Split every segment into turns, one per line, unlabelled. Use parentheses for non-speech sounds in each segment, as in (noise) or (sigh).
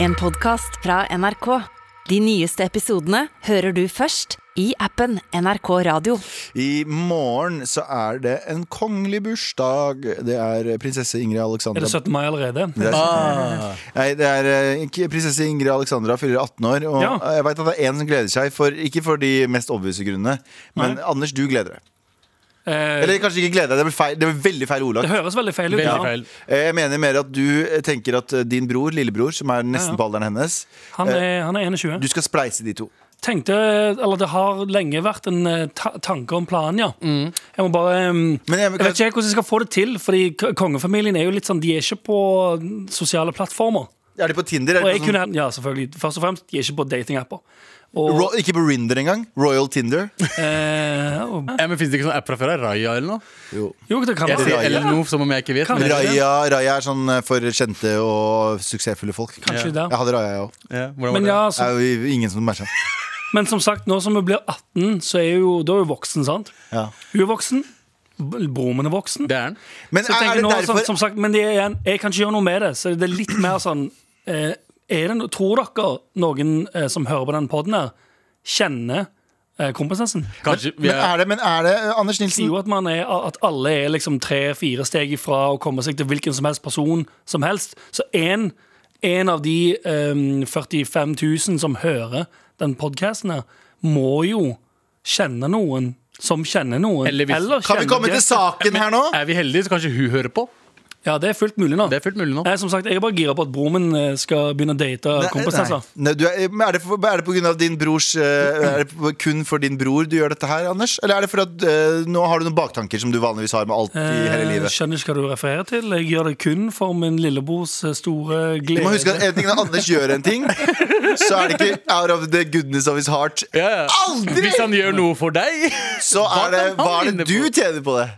En podcast fra NRK. De nyeste episodene hører du først i appen NRK Radio.
I morgen så er det en kongelig bursdag. Det er prinsesse Ingrid
Er
Alexandra
det 17. mai allerede?
Det er-
Ah.
Nei, det er eh, ikke- prinsesse Ingrid Alexandra fyller 18 år. Og
Ja.
jeg veit at det er én som gleder seg, for, ikke for de mest obvise grunnene. Men
Nei.
Anders, du gleder deg.
Eh,
Eller kanskje ikke gleder deg, det ble, feil, det ble veldig feil
det
ordlag.
høres veldig feil ut.
Veldig
ja.
feil.
Eh, Jeg mener mer at du eh, tenker at eh, din bror, lillebror, som er nesten
Ja, ja.
på alderen hennes,
Han,
Eh,
er, han er 21.
du skal spleise de to.
Tenkte, eller Det har lenge vært en eh, ta tanke om planen, ja. Jeg må bare eh,
Men jeg,
Jeg vet ikke hvordan jeg skal få det til, Fordi k- kongefamilien er jo litt sånn De er ikke på sosiale plattformer.
er de på Tinder? Er
Og
de
jeg
på sånn,
kunne, ja, selvfølgelig Først og fremst, de er ikke på datingapper. Og,
Ro, ikke på Rinder engang? Royal
(laughs)
Tinder?
eh, og,
Ja, men Fins det ikke sånn app fra før? da? Raya eller noe?
jo, det kan
Jeg
være.
sier eller noe som om jeg ikke vet.
Kan
Men,
det-
Raya, Raya er sånn eh, for kjente og suksessfulle folk.
Kanskje det.
Jeg hadde Raja, jeg òg.
ja, hvordan var
Men,
det?
ja, så,
Det er jo Ingen som matcha.
men som sagt, nå som hun blir 18, så er jo, da er hun voksen, sant?
Ja.
(laughs) Hun er voksen. b- Broren min er voksen.
Det er den.
Men
Så jeg
er,
tenker
er det
nå, som,
derfor
som sagt, men det er igjen, jeg kan ikke gjøre noe med det. Så det er litt mer sånn eh, er det, no- Tror dere noen eh, som hører på den poden her, kjenner eh, kompisen sin?
Kanskje vi
men
er,
er det, men er det eh, Anders
Det sier
Nilsen?
jo at, man er, at alle er liksom tre-fire steg ifra å komme seg til hvilken som helst person som helst. Så en, en av de em, 45 000 som hører den podkasten her, må jo kjenne noen som kjenner noen.
Eller hvis-
Kan vi
kjenner
komme
de-
til saken her nå?
(laughs) er vi heldige, så kanskje hun hører på?
Ja, det er fullt mulig nå.
Det er fullt mulig nå.
Nei, Eh, som sagt, Jeg er bare gira på at broren min eh, skal begynne å date altså. kompisen sin.
Nei, du er, eh, men er, det for, er det på grunn av din brors eh, Er det på- kun for din bror du gjør dette her, Anders? Eller er det for at eh, nå har du noen baktanker som du vanligvis har med alt i hele
Jeg
livet?
Eh, skjønner ikke hva du refererer til. Jeg gjør det kun for min lillebrors eh, store
Du
glede.
må huske at en ting når Anders gjør en
(laughs)
ting, så er det ikke out of the goodness of his heart.
Ja, ja.
Aldri!
Hvis han gjør noe for
(laughs)
deg!
Så er det
kan han
Hva er
vinne
det du
på?
tjener på det?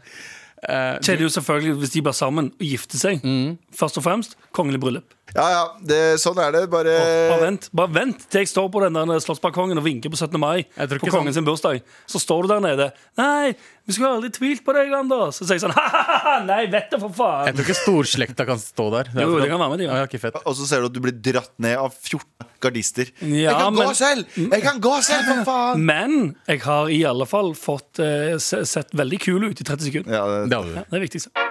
Så er det jo selvfølgelig Hvis de blir sammen og gifter seg,
Mm.
først og fremst kongelig bryllup.
Ja, ja, det, sånn er det. Bare
Bare vent bare vent til jeg står på den der slottsbalkongen og vinker på 17. mai.
Jeg tror
På
ikke sånn-
kongen sin bursdag Så står du der nede. 'Nei, vi skulle aldri tvilt på deg, Anders.' Så sier jeg sånn (laughs) «Hahaha, Nei, vet du, for
Jeg
faen.
tror ikke storslekta kan stå der.
Jo, det kan være med de, ja.
ja. ok, fett.
Og så ser du at du blir dratt ned av 14 gardister.
Ja,
jeg kan
men-
gå selv! Jeg kan gå selv, for faen!
Men jeg har i alle fall fått eh, se- sett veldig kul ut i 30 sekunder.
Ja, det,
Det har vi.
Det er det viktigste.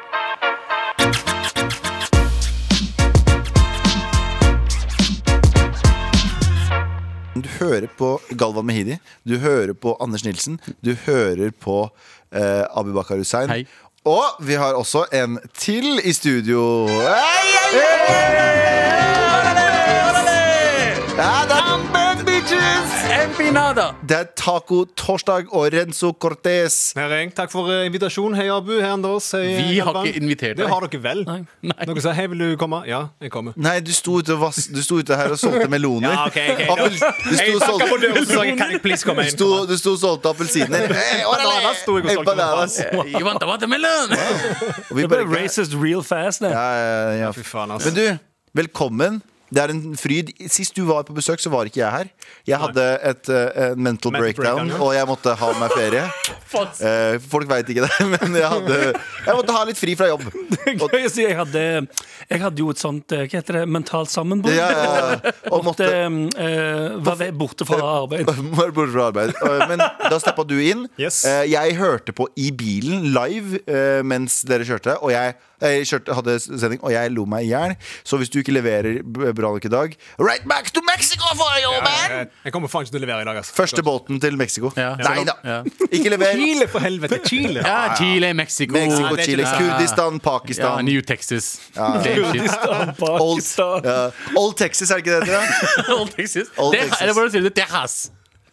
du hører på Galvan Mehidi, du hører på Anders Nilsen, du hører på eh, Abubakar Hussein.
Hei.
Og vi har også en til i studio. Hei, hei, hei! Ja, det er
Empinada!
Det er Taco Torsdag og Renzo Cortez.
Her er jeg. Takk for eh, invitasjonen. Hei, Abu. Hei, Anders. Hei,
Vi har
Galvan.
ikke invitert deg.
Det har dere vel?
Nei.
Dere sa 'hei, vil du komme'? Ja, jeg kommer.
Nei, du sto ute, og vas du sto ute her og solgte meloner.
(laughs) Ja, ok, ok.
Appel- du sto og solgte-
døren og sa 'kan jeg please komme
Du sto, du sto og solgte appelsiner. Hey, orale!
Bananas sto jeg og
Hey,
solgte.
bananas.
You want a watermelon?
Og vi
Det ble
bare-
racist real fast. Det. (laughs)
Ja, ja, ja.
Fy faen, altså.
Men du, velkommen. Det er en fryd. Sist du var på besøk, så var ikke jeg her. Jeg hadde et eh, en mental
Mental
breakdown,
breakdown, ja.
og jeg måtte ha meg ferie.
(laughs)
Fuck.
Eh, folk veit ikke det, (laughs) men jeg, hadde, jeg måtte ha litt fri fra jobb. Og,
Gøy å si. Jeg hadde, jeg hadde jo et sånt eh, Hva heter det? mentalt sammenbrudd.
ja, ja,
(laughs)
ja. og
Måtte
måtte
eh, være borte
(laughs)
fra (laughs) arbeid.
Bare borte fra arbeid. Eh, Men da steppa du inn.
Yes.
Eh, Jeg hørte på i bilen live eh, mens dere kjørte, og jeg, jeg kjørte, hadde sending, og jeg lo meg i hjel. Så hvis du ikke leverer b- bra nok i dag Right back to Mexico for you, man!
Jeg jeg kommer faen ikke til å levere i dag, altså.
Første båten til Mexico.
Ja.
Nei da.
Ja.
(laughs) Ikke lever.
Chile, for helvete! Chile!
Ja, Chile, Mexico,
Mexico,
det er ikke
Chile,
det.
Kurdistan,
ja,
Pakistan
New Texas. Same shit.
(laughs) Old,
Pakistan.
ja. Old Texas, er det ikke det det
(laughs)
heter? da?
Old Texas.
Old
Det,
Texas.
eller hvordan sier du det? Texas.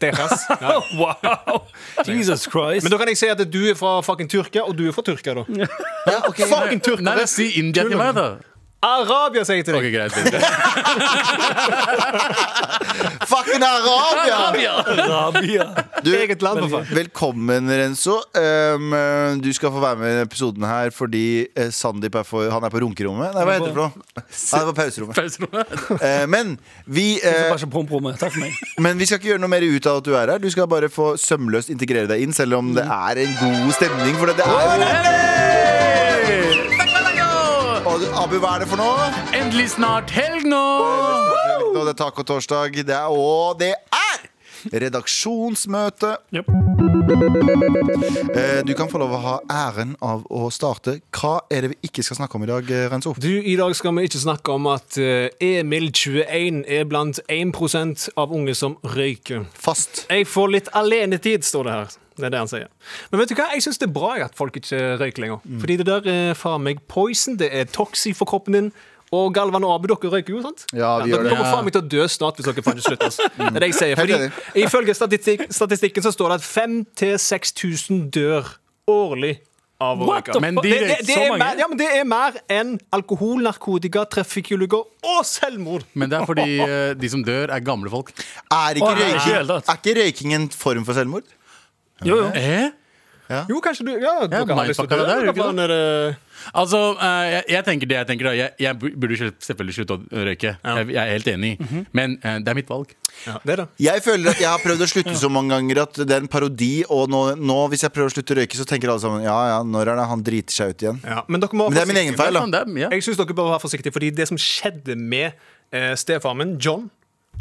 Deres. (laughs) Ja.
(laughs) Wow! Jesus Christ.
Men da kan jeg si at du er fra fucking Tyrkia, og du er fra Tyrkia, da. Fucking
Nei,
tyrkere!
men si India til meg, da.
Arabia, sier jeg til
Ok,
deg.
greit.
Fucking Arabia! (laughs)
(laughs) Arabia.
Du,
Eget land, for faen.
Velkommen, Renzo. Um, eh, du skal få være med i denne episoden her fordi eh, Sandeep er, for, han er på runkerommet. Nei, hva heter det for noe? Han er på pauserommet.
Pauserommet.
Eh, men, vi, eh,
Bare ikke promprommet. Takk for meg.
men vi skal ikke gjøre noe mer ut av at du er her. Du skal bare få sømløst integrere deg inn, selv om det
Mm.
er en god stemning. For det, det er jo Og du, Abu, hva er det for noe?
Endelig snart helg nå!
Tacotorsdag. Det er- Og det er redaksjonsmøte.
Yep.
Eh, Du kan få lov å ha æren av å starte. Hva er det vi ikke skal snakke om i dag, eh, Renzo?
Du, I dag skal vi ikke snakke om at eh, Emil21 er blant 1 av unge som røyker.
Fast.
Jeg får litt alenetid, står det her. Det er det han sier. Men vet du hva? jeg syns det er bra at folk ikke røyker lenger. Fordi det der er faen meg poison, det er toxi for kroppen din. Og Galvan og Abu, dere røyker jo, sant?
Ja, vi gjør
dere
det.
kommer faen meg til å dø snart hvis dere faen ikke slutter. ass. Det er det jeg sier.
Helt
Fordi, ifølge statistikk, statistikken så står det at 5000-6000 dør årlig av å
What
røyke.
the
Men
fuck?
de
Det, det,
røyker
det,
så
er mer,
mange.
ja, men det er mer enn alkohol, narkotika, trafikkulykker og selvmord.
Men det er fordi eh, de som dør, er gamle folk.
Er ikke,
Å, nei,
røyking,
helt rett.
er ikke røyking en form for selvmord?
Jo, jo.
Eh?
Jo, kanskje du Ja, dere har lyst til å
mindfucker
dø.
det der,
Dere
gjør
faen er det
Altså, eh, jeg, jeg tenker det jeg tenker da. Jeg, jeg burde selv- selvfølgelig slutte å røyke. Jeg, jeg er helt enig.
Mhm.
Men eh, det er mitt valg.
Ja, det er det.
Jeg føler at jeg har prøvd å slutte så mange ganger at det er en parodi, og nå, nå hvis jeg prøver å slutte å røyke, så tenker alle sammen ja ja, når er det han driter seg ut igjen?
Ja, men dere må
Men det er min egen feil, da.
Sånn, det er, ja.
Jeg synes dere bør være forsiktige, fordi det som skjedde med eh, stefaren min, John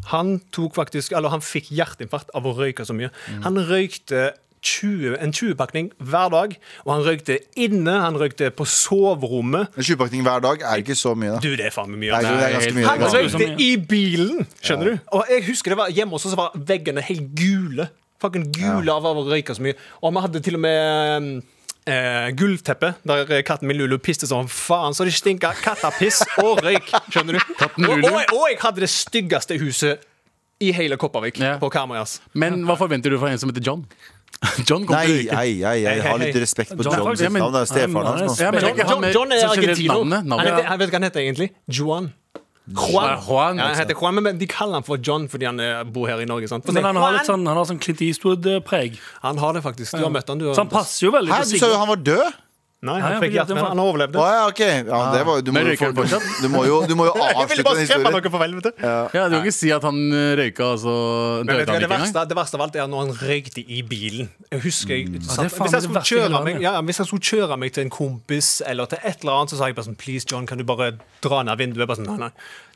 han, tok faktisk, eller han fikk hjerteinfarkt av å røyke så mye.
Mm.
Han røykte 20, en 20-pakning hver dag, og han røykte inne, han røykte på soverommet.
En tjuvpakning hver dag er ikke så mye, da.
Du, det er faen meg mye.
Nei,
altså.
det er ganske mye.
Han
det er ganske mye.
røykte i bilen, skjønner du? Og jeg husker det var hjemme også, så var veggene helt gule. Fucking gule av å røyke så mye. Og vi hadde til og med eh, gulvteppe der katten min Lulu piste som faen, så det stinka kattepiss og røyk. Skjønner du?
Katten
Og,
Lulu.
og, jeg- og jeg hadde det styggeste huset i hele Kopervik,
Ja.
på Karmøy. ass.
Men hva forventer du fra en som heter John? (laughs) John kommer
Nei,
til å røyke.
nei, nei, jeg har litt
Hei, hei, hei.
respekt på
John
John
faktisk,
sitt
men-
navn. Det er stefaren
han er
hans.
Ja,
mann.
men ikke han
John,
med
John er
sånn generelt
argentino.
Navnet,
Han heter-
navnet.
Jeg vet ikke hva han heter egentlig. Juan.
Juan, Juan,
ja, han
altså.
heter Juan, men de kaller han for John fordi han eh, bor her i Norge. sant? For
Men
det-
han har litt
Juan!
sånn, han har sånn Clint Eastwood-preg.
han har det faktisk. Du har møtt han, du.
Så han passer jo veldig
Hæ,
til
du sa jo
Sigurd.
han var død?
Nei,
Nei,
han fikk
fordi at den
hjerteinfarkt.
var-
Han
Å
overlevde.
ja, ok. Ja, det var, du, må
Men
jo
røyker
få-
han fortsatt?
du må jo, du må jo avslutte den historien.
noe for helvete.
Ja, du kan ikke si at han eh, røyka, og så
Men
døde han
vet du hva, det,
ikke engang.
verste, det verste av alt er når han røykte i bilen. Jeg husker jeg, satt,
det er faen meg
hvis, jeg skulle
det verste i
kjøre
verden,
meg, ja, hvis jeg skulle kjøre meg til en kompis eller til et eller annet, så sa jeg bare sånn Please, John, kan du bare dra ned vinduet? Jeg Bare sånn, nei, nei.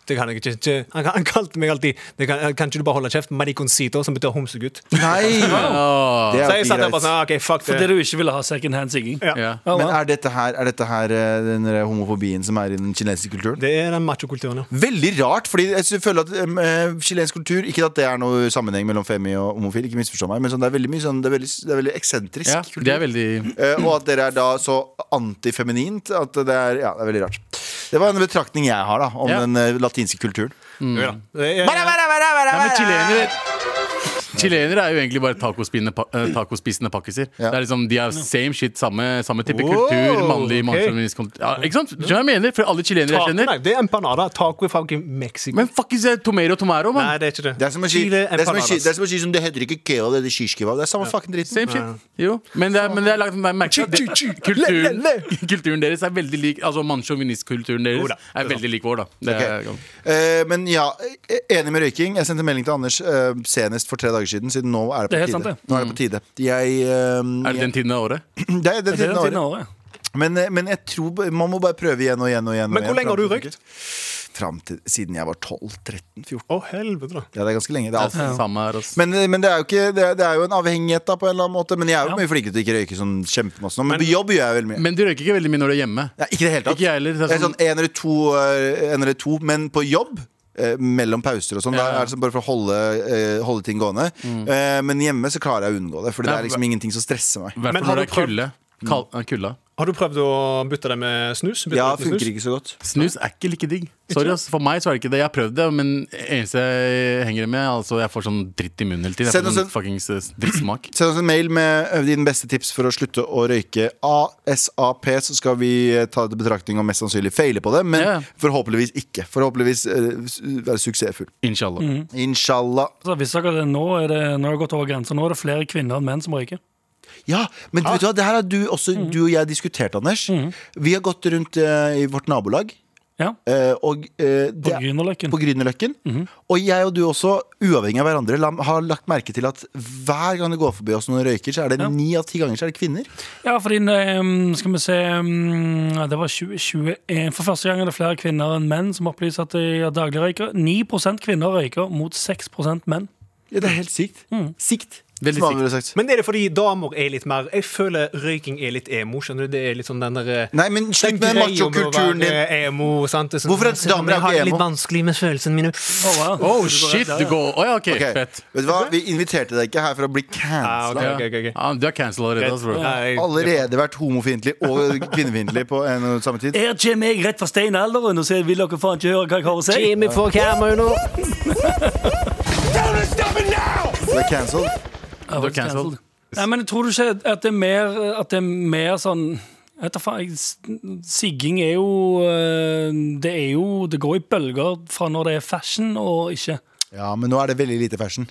Det kan jeg ikke. ikke. Han, han kalte meg alltid det kan, kan ikke du bare holde kjeft? Mariconcito, som betyr homsegutt.
(laughs)
Så
Nei!
Åh.
Det er jo
jeg satt der
ikke greit.
bare sånn «Ah, OK, fuck
Fordi
det.
du ikke ville ha second hand-sigging.
Ja.
Ja.
Ja,
Men
wow.
er dette her, er dette her eh, den der homofobien som er i den chilenske kulturen?
Det er den machokulturen, ja.
Veldig rart, fordi jeg sy- føler at em, eh, chilensk kultur Ikke at det er noe sammenheng mellom femi og homofil, ikke misforstå meg, men sånn, det er veldig mye sånn, det er veldig, det er veldig eksentrisk.
ja, det er veldig
Eh, og at dere er da så antifeminint at det er Ja, det er veldig rart. Det var en betraktning jeg har, da, om
Ja.
den eh, latinske kulturen.
ja. Det er-
Nei, men chilenere Chilenere er jo egentlig bare tacospinne pa- eh, tacospisende pakkiser.
Ja.
Det er liksom, De er same shit, samme, samme type
Wow,
kultur. Mannlig,
ok.
mannsjovinist kultur. ja, Ikke sant? Du skjønner hva jeg mener? For alle chilenere jeg
Taco,
kjenner.
nei, det er empanada. Taco i fucking Mexico.
Men fuckings eh, tomero tomero,
Nei,
mann.
det er ikke det.
Det er som å si det
Chile
er som å si-
empanadas.
det er som å si som det heter ikke keo, det heter shishkeva. Det er samme fucking dritten.
Same shit. Jo. Men det er, men det er lagt det er merket at
Chi, chi,
det-
chi.
kulturen, (laughs)
Le, le,
kulturen deres er veldig lik Altså mannssjåvinistkulturen
Jo da,
deres
det
er
er
veldig lik vår, da. Det er,
Ok. Eh, men ja, eh, enig med røyking. Jeg sendte melding til Anders eh, senest for tre dager siden, siden nå er det på
Det er
tide.
helt sant, det. Mm.
Nå er det på tide. Jeg, eh, (clears throat)
er det den tiden av året?
jeg- det er den
Det er
tiden
den
av
tiden
året.
av året.
Men, eh, men jeg tror ba- man må bare prøve igjen og igjen. og igjen og
Men hvor
igjen,
lenge har du
fram til-
røykt?
Fram til siden jeg var 12-13-14.
Å, helvete, da.
Ja, det er ganske lenge. Det er alt.
Altså, Samme her, ass.
Men, eh, men det, er jo ikke, det, er, det er jo en avhengighet da, på en eller annen måte. Men jeg er jo
Ja.
mye flinkere til å ikke røyke sånn kjempemasse nå. Men, på jobb gjør jeg veldig mye.
Men du røyker ikke veldig mye når du er hjemme.
Nei, ikke i det hele tatt.
Ikke jeg heller, det er
Det er
sånn-
sånn en eller to, eh, en eller to men på jobb eh, mellom pauser og sånn. Da
Ja. Mm.
er det sånn bare for å holde, eh, holde ting gående. Eh, men hjemme så klarer jeg å unngå det, for det
Nei,
er liksom ingenting som stresser meg.
I hvert fall
Men har
når det
du
er
prøvd-
kulde. Kal eh, kulda.
Har du prøvd å bytte det med snus? Bytte
Ja,
det med
funker
snus?
ikke så godt.
Snus er ikke like digg. Sorry, ass. For meg så er det ikke det. Jeg har prøvd det, men eneste jeg henger med, altså jeg får sånn dritt i munnen hele tiden. Jeg
Send
får
oss
sånn fuckings eh, drittsmak.
Send oss en mail med eh, dine beste tips for å slutte å røyke ASAP, så skal vi eh, ta det til betraktning og mest sannsynlig feile på det. Men
Ja.
forhåpentligvis ikke. Forhåpentligvis eh, s- være suksessfull.
(clears throat) Inshallah. Mm.
Inshallah.
Så Altså, hvis dere det, nå, er det, nå har det gått over grensa. Nå er det flere kvinner enn menn som røyker.
Ja, Mm. men vet du hva, det her har du, også, du og jeg diskutert, Anders. Vi har gått rundt eh, i vårt nabolag.
Ja,
Eh, og, eh, det,
på Grünerløkken.
på Mm. Grünerløkken. Og jeg og du også, uavhengig av hverandre, la- har lagt merke til at hver gang det går forbi oss noen røyker, så er det
Ja.
ni av ti ganger så er det kvinner.
Ja, fordi ehm, skal vi se ehm, ja, Det var 2021. For første gang er det flere kvinner enn menn som opplyser at de er daglig røyker. 9 kvinner røyker mot 6 menn.
Ja, det er helt sykt. Mm. Sikt.
Veldig
som andre ville sagt.
Men er det fordi damer er litt mer Jeg føler røyking er litt emo. skjønner du? Det er litt sånn den derre
Nei, men slutt med machokulturen din.
Emo, sant? Det er sånn,
Hvorfor er
«Selv om
damer
jeg har
ikke
det litt
emo?»
vanskelig med følelsene mine.
Oh, wow.
Oh
Så går
shit,
rett der,
du
ja.
går Å ja, OK,
Ok,
fett.
Vet du hva, Vi inviterte deg ikke her for å bli
Ah,
cancela.
ok, ok, ok, ok.
Ja, du er cancelled allerede. Altså, bro.
Nei, jeg-
Allerede vært homofiendtlig og kvinnefiendtlig på en og samme tid.
Er Jim jeg rett fra steinalderen og så vil dere faen ikke høre hva jeg har å si?
Jimmy på kamera nå.
Det er cancelled.
Du er cancelled.
Nei, men tror du ikke at det er mer, at det er mer sånn jeg vet da faen, jeg, s- Sigging er jo eh, Det er jo Det går i bølger fra når det er fashion og ikke.
Ja, men nå er det veldig lite fashion.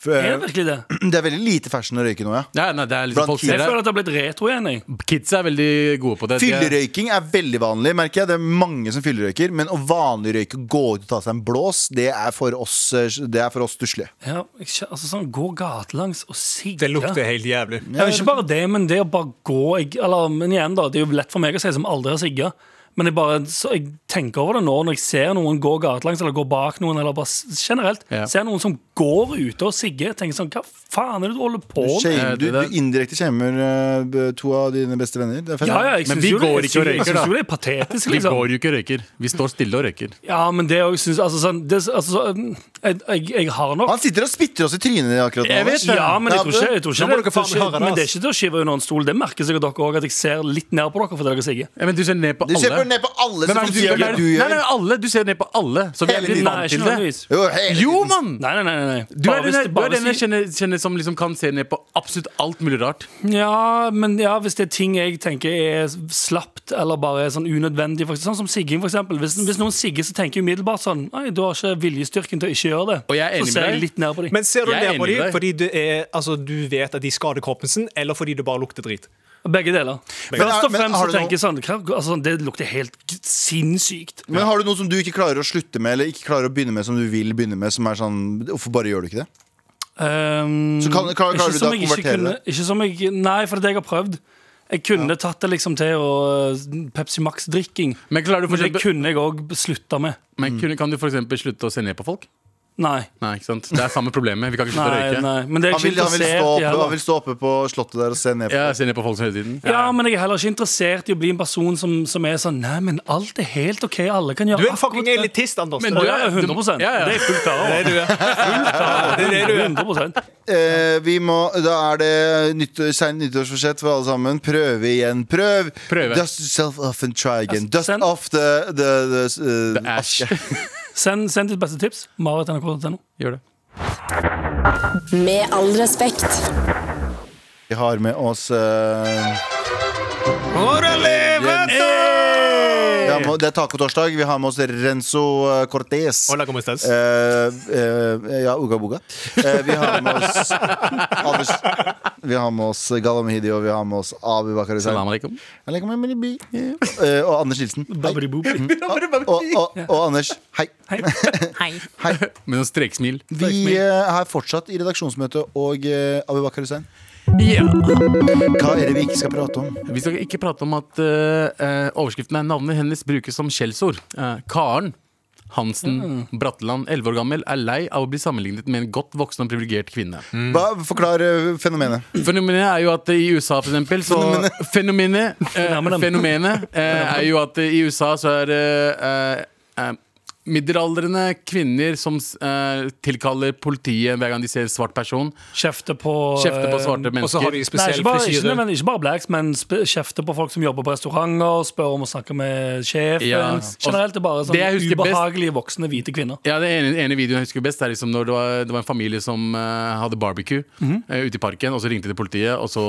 For,
Er det virkelig det?
(clears throat) det er veldig lite fashion å røyke nå, ja.
Nei, nei, det er
Blant
liksom folk
kids.
ser
Jeg
det.
føler at det har blitt retro igjen. jeg.
Kids er veldig gode på det. De er-
Fyllerøyking er veldig vanlig, merker jeg. Det er mange som fyllerøyker. Men å vanlig røyke og gå ut og ta seg en blås, det er for oss, eh, det er for oss stusslig.
Ja, jeg, skjø- altså sånn, Gå gatelangs og sigge.
Det lukter helt jævlig.
Ja, ikke bare det, men det å bare gå jeg, eller, Men igjen, da. Det er jo lett for meg å si som aldri har sigga. Men jeg bare så jeg tenker over det nå når jeg ser noen gå gatelangs eller gå bak noen. Eller bare s- generelt
Ja.
Ser noen som går ute og sigger. Tenker sånn Hva faen er det du holder
Du,
på med?
shame,
Eh,
du,
det der-
du indirekte shamer eh, b- to av dine beste venner. Det er fett.
Ja, ja, jeg
Men
syns
vi
jo, det-
går
jeg
ikke og
syns-
røyker,
Jeg
da.
syns jo det er patetisk,
Vi
liksom.
går jo ikke og røyker. Vi står stille og røyker.
Ja, men det òg syns altså, sånn, det, altså, så, jeg, jeg, jeg har nok
Han sitter og spytter oss i trynet akkurat nå.
Jeg vet
Anders.
det.
Ja, men jeg tror ikke, jeg tror
Nå
ikke,
må
det,
dere
jeg tror
faen meg høre
ikke
det,
Men det er
ass.
ikke til å skyve under en stol. Det merker sikkert dere òg, at jeg ser litt ned på dere fordi dere sigger.
Ja, men du ser ned på
Du ser på
alle.
ned på alle
Hvem
som
er det du,
sier
hvem
hva
er det-
du
Nei, nei,
gjør.
alle, du ser ned på alle. Så vi er
Hele
blitt
tiden.
vant
Nei,
til
ikke
det.
nødvendigvis.
Jo, hele
Jo,
tiden.
mann!
Nei, nei, nei. nei, nei.
Du
Bare
er den,
hvis det-
her- du
bare
er den jeg
hvis-
kjenner, kjenner som liksom kan se ned på absolutt alt mulig rart.
Ja, men ja, hvis det er ting jeg tenker er slapt eller bare er sånn unødvendig, for eksempel, sånn som sigging, for eksempel. Hvis, hvis noen sigger, så tenker jeg umiddelbart sånn Nei, du har ikke viljestyrken til å ikke gjøre det.
Og jeg er enig
så ser
med
jeg
deg.
litt ned på dem.
Men ser du
Jeg er
ned på
enig med
dem
deg.
fordi du, er, altså, du vet at de skader kroppen sin, eller fordi du bare lukter drit?
Begge deler.
Men-
Først og
men
fremst
har
så
du noe-
tenker jeg sånn hva- altså, sånn, Det lukter helt g- sinnssykt.
Men har du noe som du ikke klarer å slutte med, eller ikke klarer å begynne med, som du vil begynne med, som er sånn Hvorfor bare gjør du ikke det?
Um,
Så kan- kan- klarer
ikke
du
som
da å
jeg ikke
konvertere
kunne,
det?
Ikke som jeg, nei, for det er det jeg har prøvd. Jeg kunne tatt det liksom til å eh, Pepsi Max-drikking.
Men, klarer du for
Men det
eksempel,
kunne jeg òg slutta med.
men kunne- kan du for eksempel slutte å se ned på folk?
Nei.
Nei, ikke sant? Det er samme problemet. Vi kan ikke slutte å
Nei,
røyke.
nei. Men det er
Han
jeg
vil,
ikke
han, vil stå
interessert i
oppe, han
heller.
vil stå oppe på slottet der og se ned på
Ja, se ned på folk hele tiden.
Ja, men jeg er heller ikke interessert i å bli en person som, som er sånn Nei, men alt er helt OK. Alle kan gjøre
Du er fucking
det."
elitist, Anders.
Men
Å,
du
ja,
er-
100
Ja, ja.
Det er jeg fullt klar over.
du
(laughs)
er.
Fullt klar over.
Det er det du er.
100
Eh, vi må, da er det nyttår, sein nyttårsforsett for alle sammen. Prøve igjen. Prøv!
Prøve.
Dust yourself off and try again.
Altså,
Dust
send-
off the, the, the, eh,
The ash.
aske.
Send, send ditt beste tips. Marit.nrk.no.
Gjør det.
Med all respekt.
Vi har med oss eh, vi har med, Det er tacotorsdag. Vi har med oss Renzo eh, Cortez.
Hola, ¿cómo estás?
Eh, eh, ja, Uga Boga. Eh, vi har med
(laughs)
oss Anders, Vi har med oss Galvan Mehidi, og vi har med oss Abu Bakar Hussein.
Salam alaikum. (laughs)
Eh, og Anders Nilsen. Hei. Og, og, og Anders, hei.
Med noen streksmil.
Vi eh, er fortsatt i redaksjonsmøte, og eh, Abu Bakar Hussein,
Ja.
hva er det vi ikke skal prate om?
Vi skal ikke prate om at eh, eh, overskriften er navnet hennes brukes som skjellsord. Eh, Karen Hansen
Mm.
Bratland, 11 år gammel, er lei av å bli sammenlignet med en godt voksen og privilegert kvinne.
Hva, forklar eh, fenomenet.
Fenomenet er jo at i USA, for eksempel, så Fenomenet, eh,
Fenomenet.
fenomenet eh, er jo at i USA så er det eh, eh, middelaldrende kvinner som eh, tilkaller politiet hver gang de ser en svart person.
Kjefte på
Kjefter på
eh,
svarte
Og så
mennesker.
har de
Nei,
spesiell
ikke bare, ikke,
frisyre.
nødvendig- ikke bare blacks, men sp- kjefte på folk som jobber på restauranter, spør om å snakke med sjefen.
Ja.
Generelt det er bare
Det jeg
sånn
husker best-
ubehagelige voksne hvite kvinner.
Ja, Det ene, ene videoen jeg husker best, er liksom når det var, det var en familie som eh, hadde barbecue
Mhm.
eh, ute i parken. Og så ringte de politiet, og så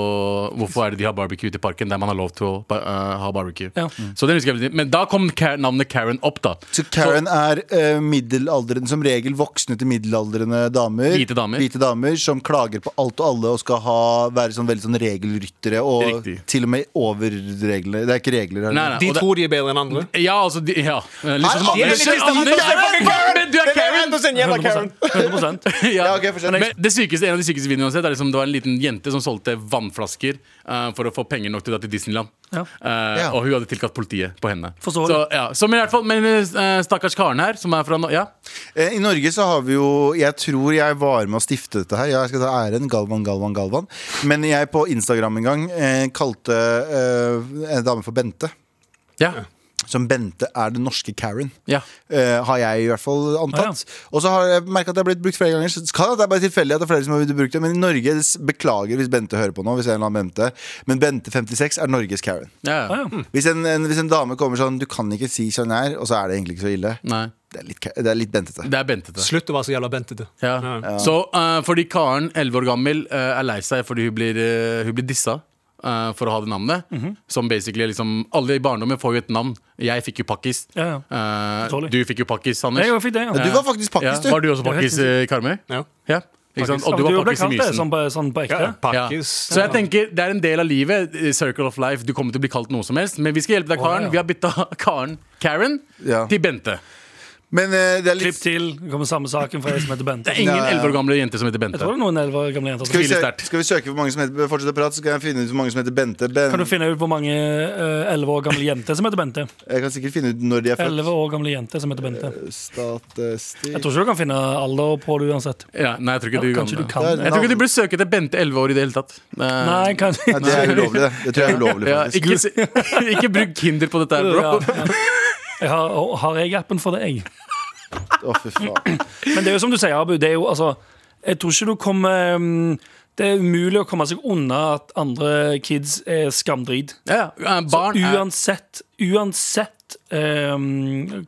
Hvorfor er det de har barbecue ute i parken der man har lov til å ba- eh, ha barbecue?
Ja.
Så den husker jeg veldig Men da kom Ka- navnet Karen opp, da.
Så Karen
så,
er eh, middelaldrende, som regel voksne til middelaldrende damer.
Hvite damer.
damer Som klager på alt og alle og skal ha, være sånn, veldig sånn regelryttere. Og
Riktig.
til og med over reglene. Det er ikke regler her.
Nei, nei,
De
og det-
tror de er bedre enn andre.
Ja, altså de, ja. Eh, Litt
Nei,
sånn som
Anders,
Anders.
Anders, du
Anders,
er fucking
Karen! Du er Karen!
100
(laughs) Ja, ok, fortsett.
Men det sykeste, en av de sykeste videoene jeg har sett, er liksom, det var en liten jente som solgte vannflasker eh, for å få penger nok til å dra til Disneyland.
Ja.
Eh,
Ja.
Og hun hadde tilkalt politiet på henne.
Forståelig.
Så, ja. så, men i hvert fall, men eh, stakkars Karen her, som er fra Nå- Ja.
Eh, I Norge så har vi jo Jeg tror jeg var med å stifte dette her. Ja, Jeg skal ta æren. Galvan, Galvan, Galvan. Men jeg på Instagram en gang eh, kalte eh, en dame for Bente.
ja.
Som Bente er den norske Karen.
ja.
Eh, har jeg i hvert fall antatt. Og så har jeg merket at det er blitt brukt flere ganger. Så kan det er bare tilfeldig at det er flere som har brukt det. Men i Norge, s- beklager hvis Bente hører på nå, hvis jeg er en eller annen Bente. Men Bente 56 er Norges Karen.
ja. ja.
ja.
Hvis en, en, hvis en dame kommer sånn Du kan ikke si sånn her, og så er det egentlig ikke så ille.
Nei.
Det er litt, ka- det er litt bentete.
Det er Bentete.
Slutt å være så jævla bentete.
Ja. Så eh, fordi Karen, 11 år gammel, eh, er lei seg fordi hun blir, eh, hun blir dissa eh, for å ha det navnet.
Mhm.
Som basically liksom Alle i barndommen får jo et navn. Jeg fikk jo pakkis.
Ja, ja.
Eh,
Forståelig.
du fikk jo pakkis, Anders.
Jeg var fint, det, ja.
Du var faktisk
ja.
pakkis, du.
Var du
Jeg
også
vet
pakkis, eh, Karmøy?
Ja.
Ja. Ikke sant? Og du
Ja,
var
ble
pakkis i
kalt det,
Mysen.
sånn på, sånn på ekte.
Ja. Så jeg tenker, Det er en del av livet. eh, Circle of life. Du kommer til å bli kalt noe som helst. Men vi skal hjelpe deg, Karen.
ja.
Vi har bytta (laughs) Karen Karen
Ja.
til Bente.
Men eh, det er
Klipp
litt
til, det kommer samme saken fra ei som heter Bente.
Det er ingen
Ja, ja, ja.
11 år gamle jente som heter
Jeg tror
Bente.
det er noen elleve år gamle jenter
skal vi,
som
Tviler
sø
sterkt.
skal vi søke på mange som heter Fortsett å prate, så kan jeg finne ut hvor mange som heter Bente. Ben
Kan du finne ut hvor mange eh, elleve år gamle jenter som heter Bente?
jeg kan sikkert finne ut når de er født.
11 år gamle jenter som heter Bente.
Statistikk
Jeg tror ikke du kan finne alder på det uansett.
Ja, nei, jeg tror ikke du
Kanskje du kan det?
Jeg tror ikke du burde søke etter Bente 11 år i det hele tatt. Eh,
Nei,
Nei,
(laughs)
kanskje
det er ulovlig, det. Det tror
(laughs)
jeg er ulovlig,
Ja,
faktisk.
ikke, se- (laughs) ikke bruk Kinder på dette her,
Ja,
bro.
ja. Jeg har, har jeg appen for det, jeg?
Å, fy faen.
Men det er jo som du sier, Abu. Det er jo, altså, jeg tror ikke du kommer um, Det er umulig å komme seg unna at andre kids er skamdrit.
Ja, ja. Eh,
Så
Barn er
uansett, uansett um,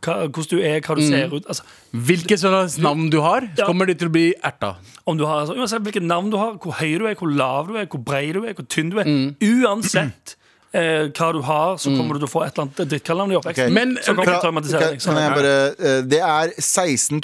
hva, hvordan du er, hva du
Mm.
ser ut altså,
Hvilke sånne navn du har, så
Ja.
kommer de til å bli erta.
om du har, altså, Uansett hvilket navn du har, hvor høy du er, hvor lav du er, hvor bred du er, hvor tynn du er.
Mm.
Uansett eh, hva du har, så kommer du til å få et eller annet drittkallenavn i oppveksten.
Ok.
Men,
som kommer
Fra,
til å
kan,
traumatisere deg.
kan jeg bare, eh, det er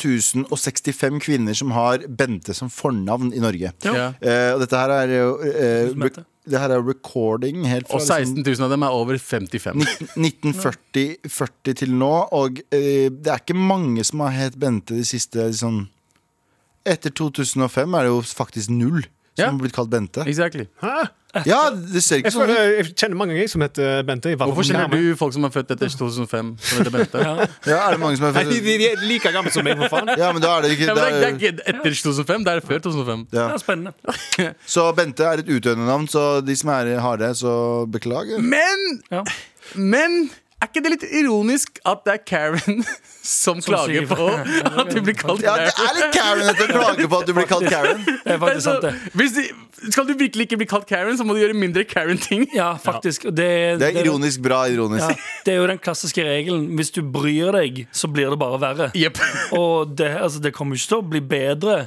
16.065 kvinner som har Bente som fornavn i Norge.
Ja.
Ja.
Eh, og dette her er jo eh,
Tusen
re-
Bente.
Det her er recording helt fra liksom-
Og 16 000 av dem er over 55.
1940 40 til nå, og eh, det er ikke mange som har hett Bente de siste sånn Etter 2005 er det jo faktisk null som
Ja.
har blitt kalt Bente.
Exactly.
Ja, det ser ikke
Jeg,
sånn
føler,
ut.
jeg kjenner mange ganger som heter eh, Bente. i hvert fall
Hvorfor
som
kjenner
gammel.
du folk som er født etter 2005, som
(laughs)
heter Bente? Ja,
Ja, er det mange som er
Nei, de,
født
de- de er like gamle som meg, for faen.
Ja, men da er det ikke
men det, er, det
da
er
er,
ikke etter 2005, det er før 2005.
ja.
Det er spennende.
Så Bente er et utøvende navn, så de som er har det, så beklager.
Men,
Ja.
men er ikke det litt ironisk at det er Karen (laughs) som klager
sier-
på at du blir kalt
Ja, det
Karen?
er litt Karen at du klager på at du blir kalt Karen. (laughs)
Det er faktisk sant, det.
Altså, hvis de, skal du virkelig ikke bli kalt Karen, så må du gjøre mindre
(laughs)
Karen-ting.
Ja, faktisk. og Det,
Det er ironisk bra ironisk.
Ja, det er jo den klassiske regelen. Hvis du bryr deg, så blir det bare verre.
Jepp.
Og det, altså, det kommer ikke til å bli bedre.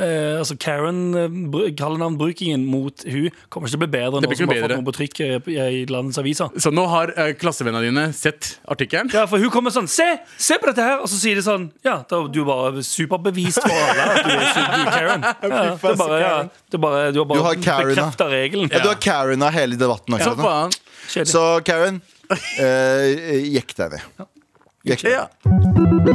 Eh, altså Karen, eh, br- kallenavnbrukingen mot hun kommer ikke til å bli bedre.
Det
Nå
blir ikke
som har
noe
fått
bedre.
noe på trykk eh, i, i landets aviser.
Så nå har eh, klassevennene dine sett artikkelen.
Ja, for hun kommer sånn Se! Se på dette her! Og så sier de sånn Ja, da, du er bare superbevist for alle at du er, super, du er
(laughs)
Karen. Ja, det er bare, ja, det er bare, du har
Du har
bare
Karen, da.
bekrefta regelen.
Ja, du har Karen av hele debatten
Så
akkurat nå.
faen.
Kjedelig.
Så Karen, eh, jekk deg ned. Jekk deg ned.
Ja.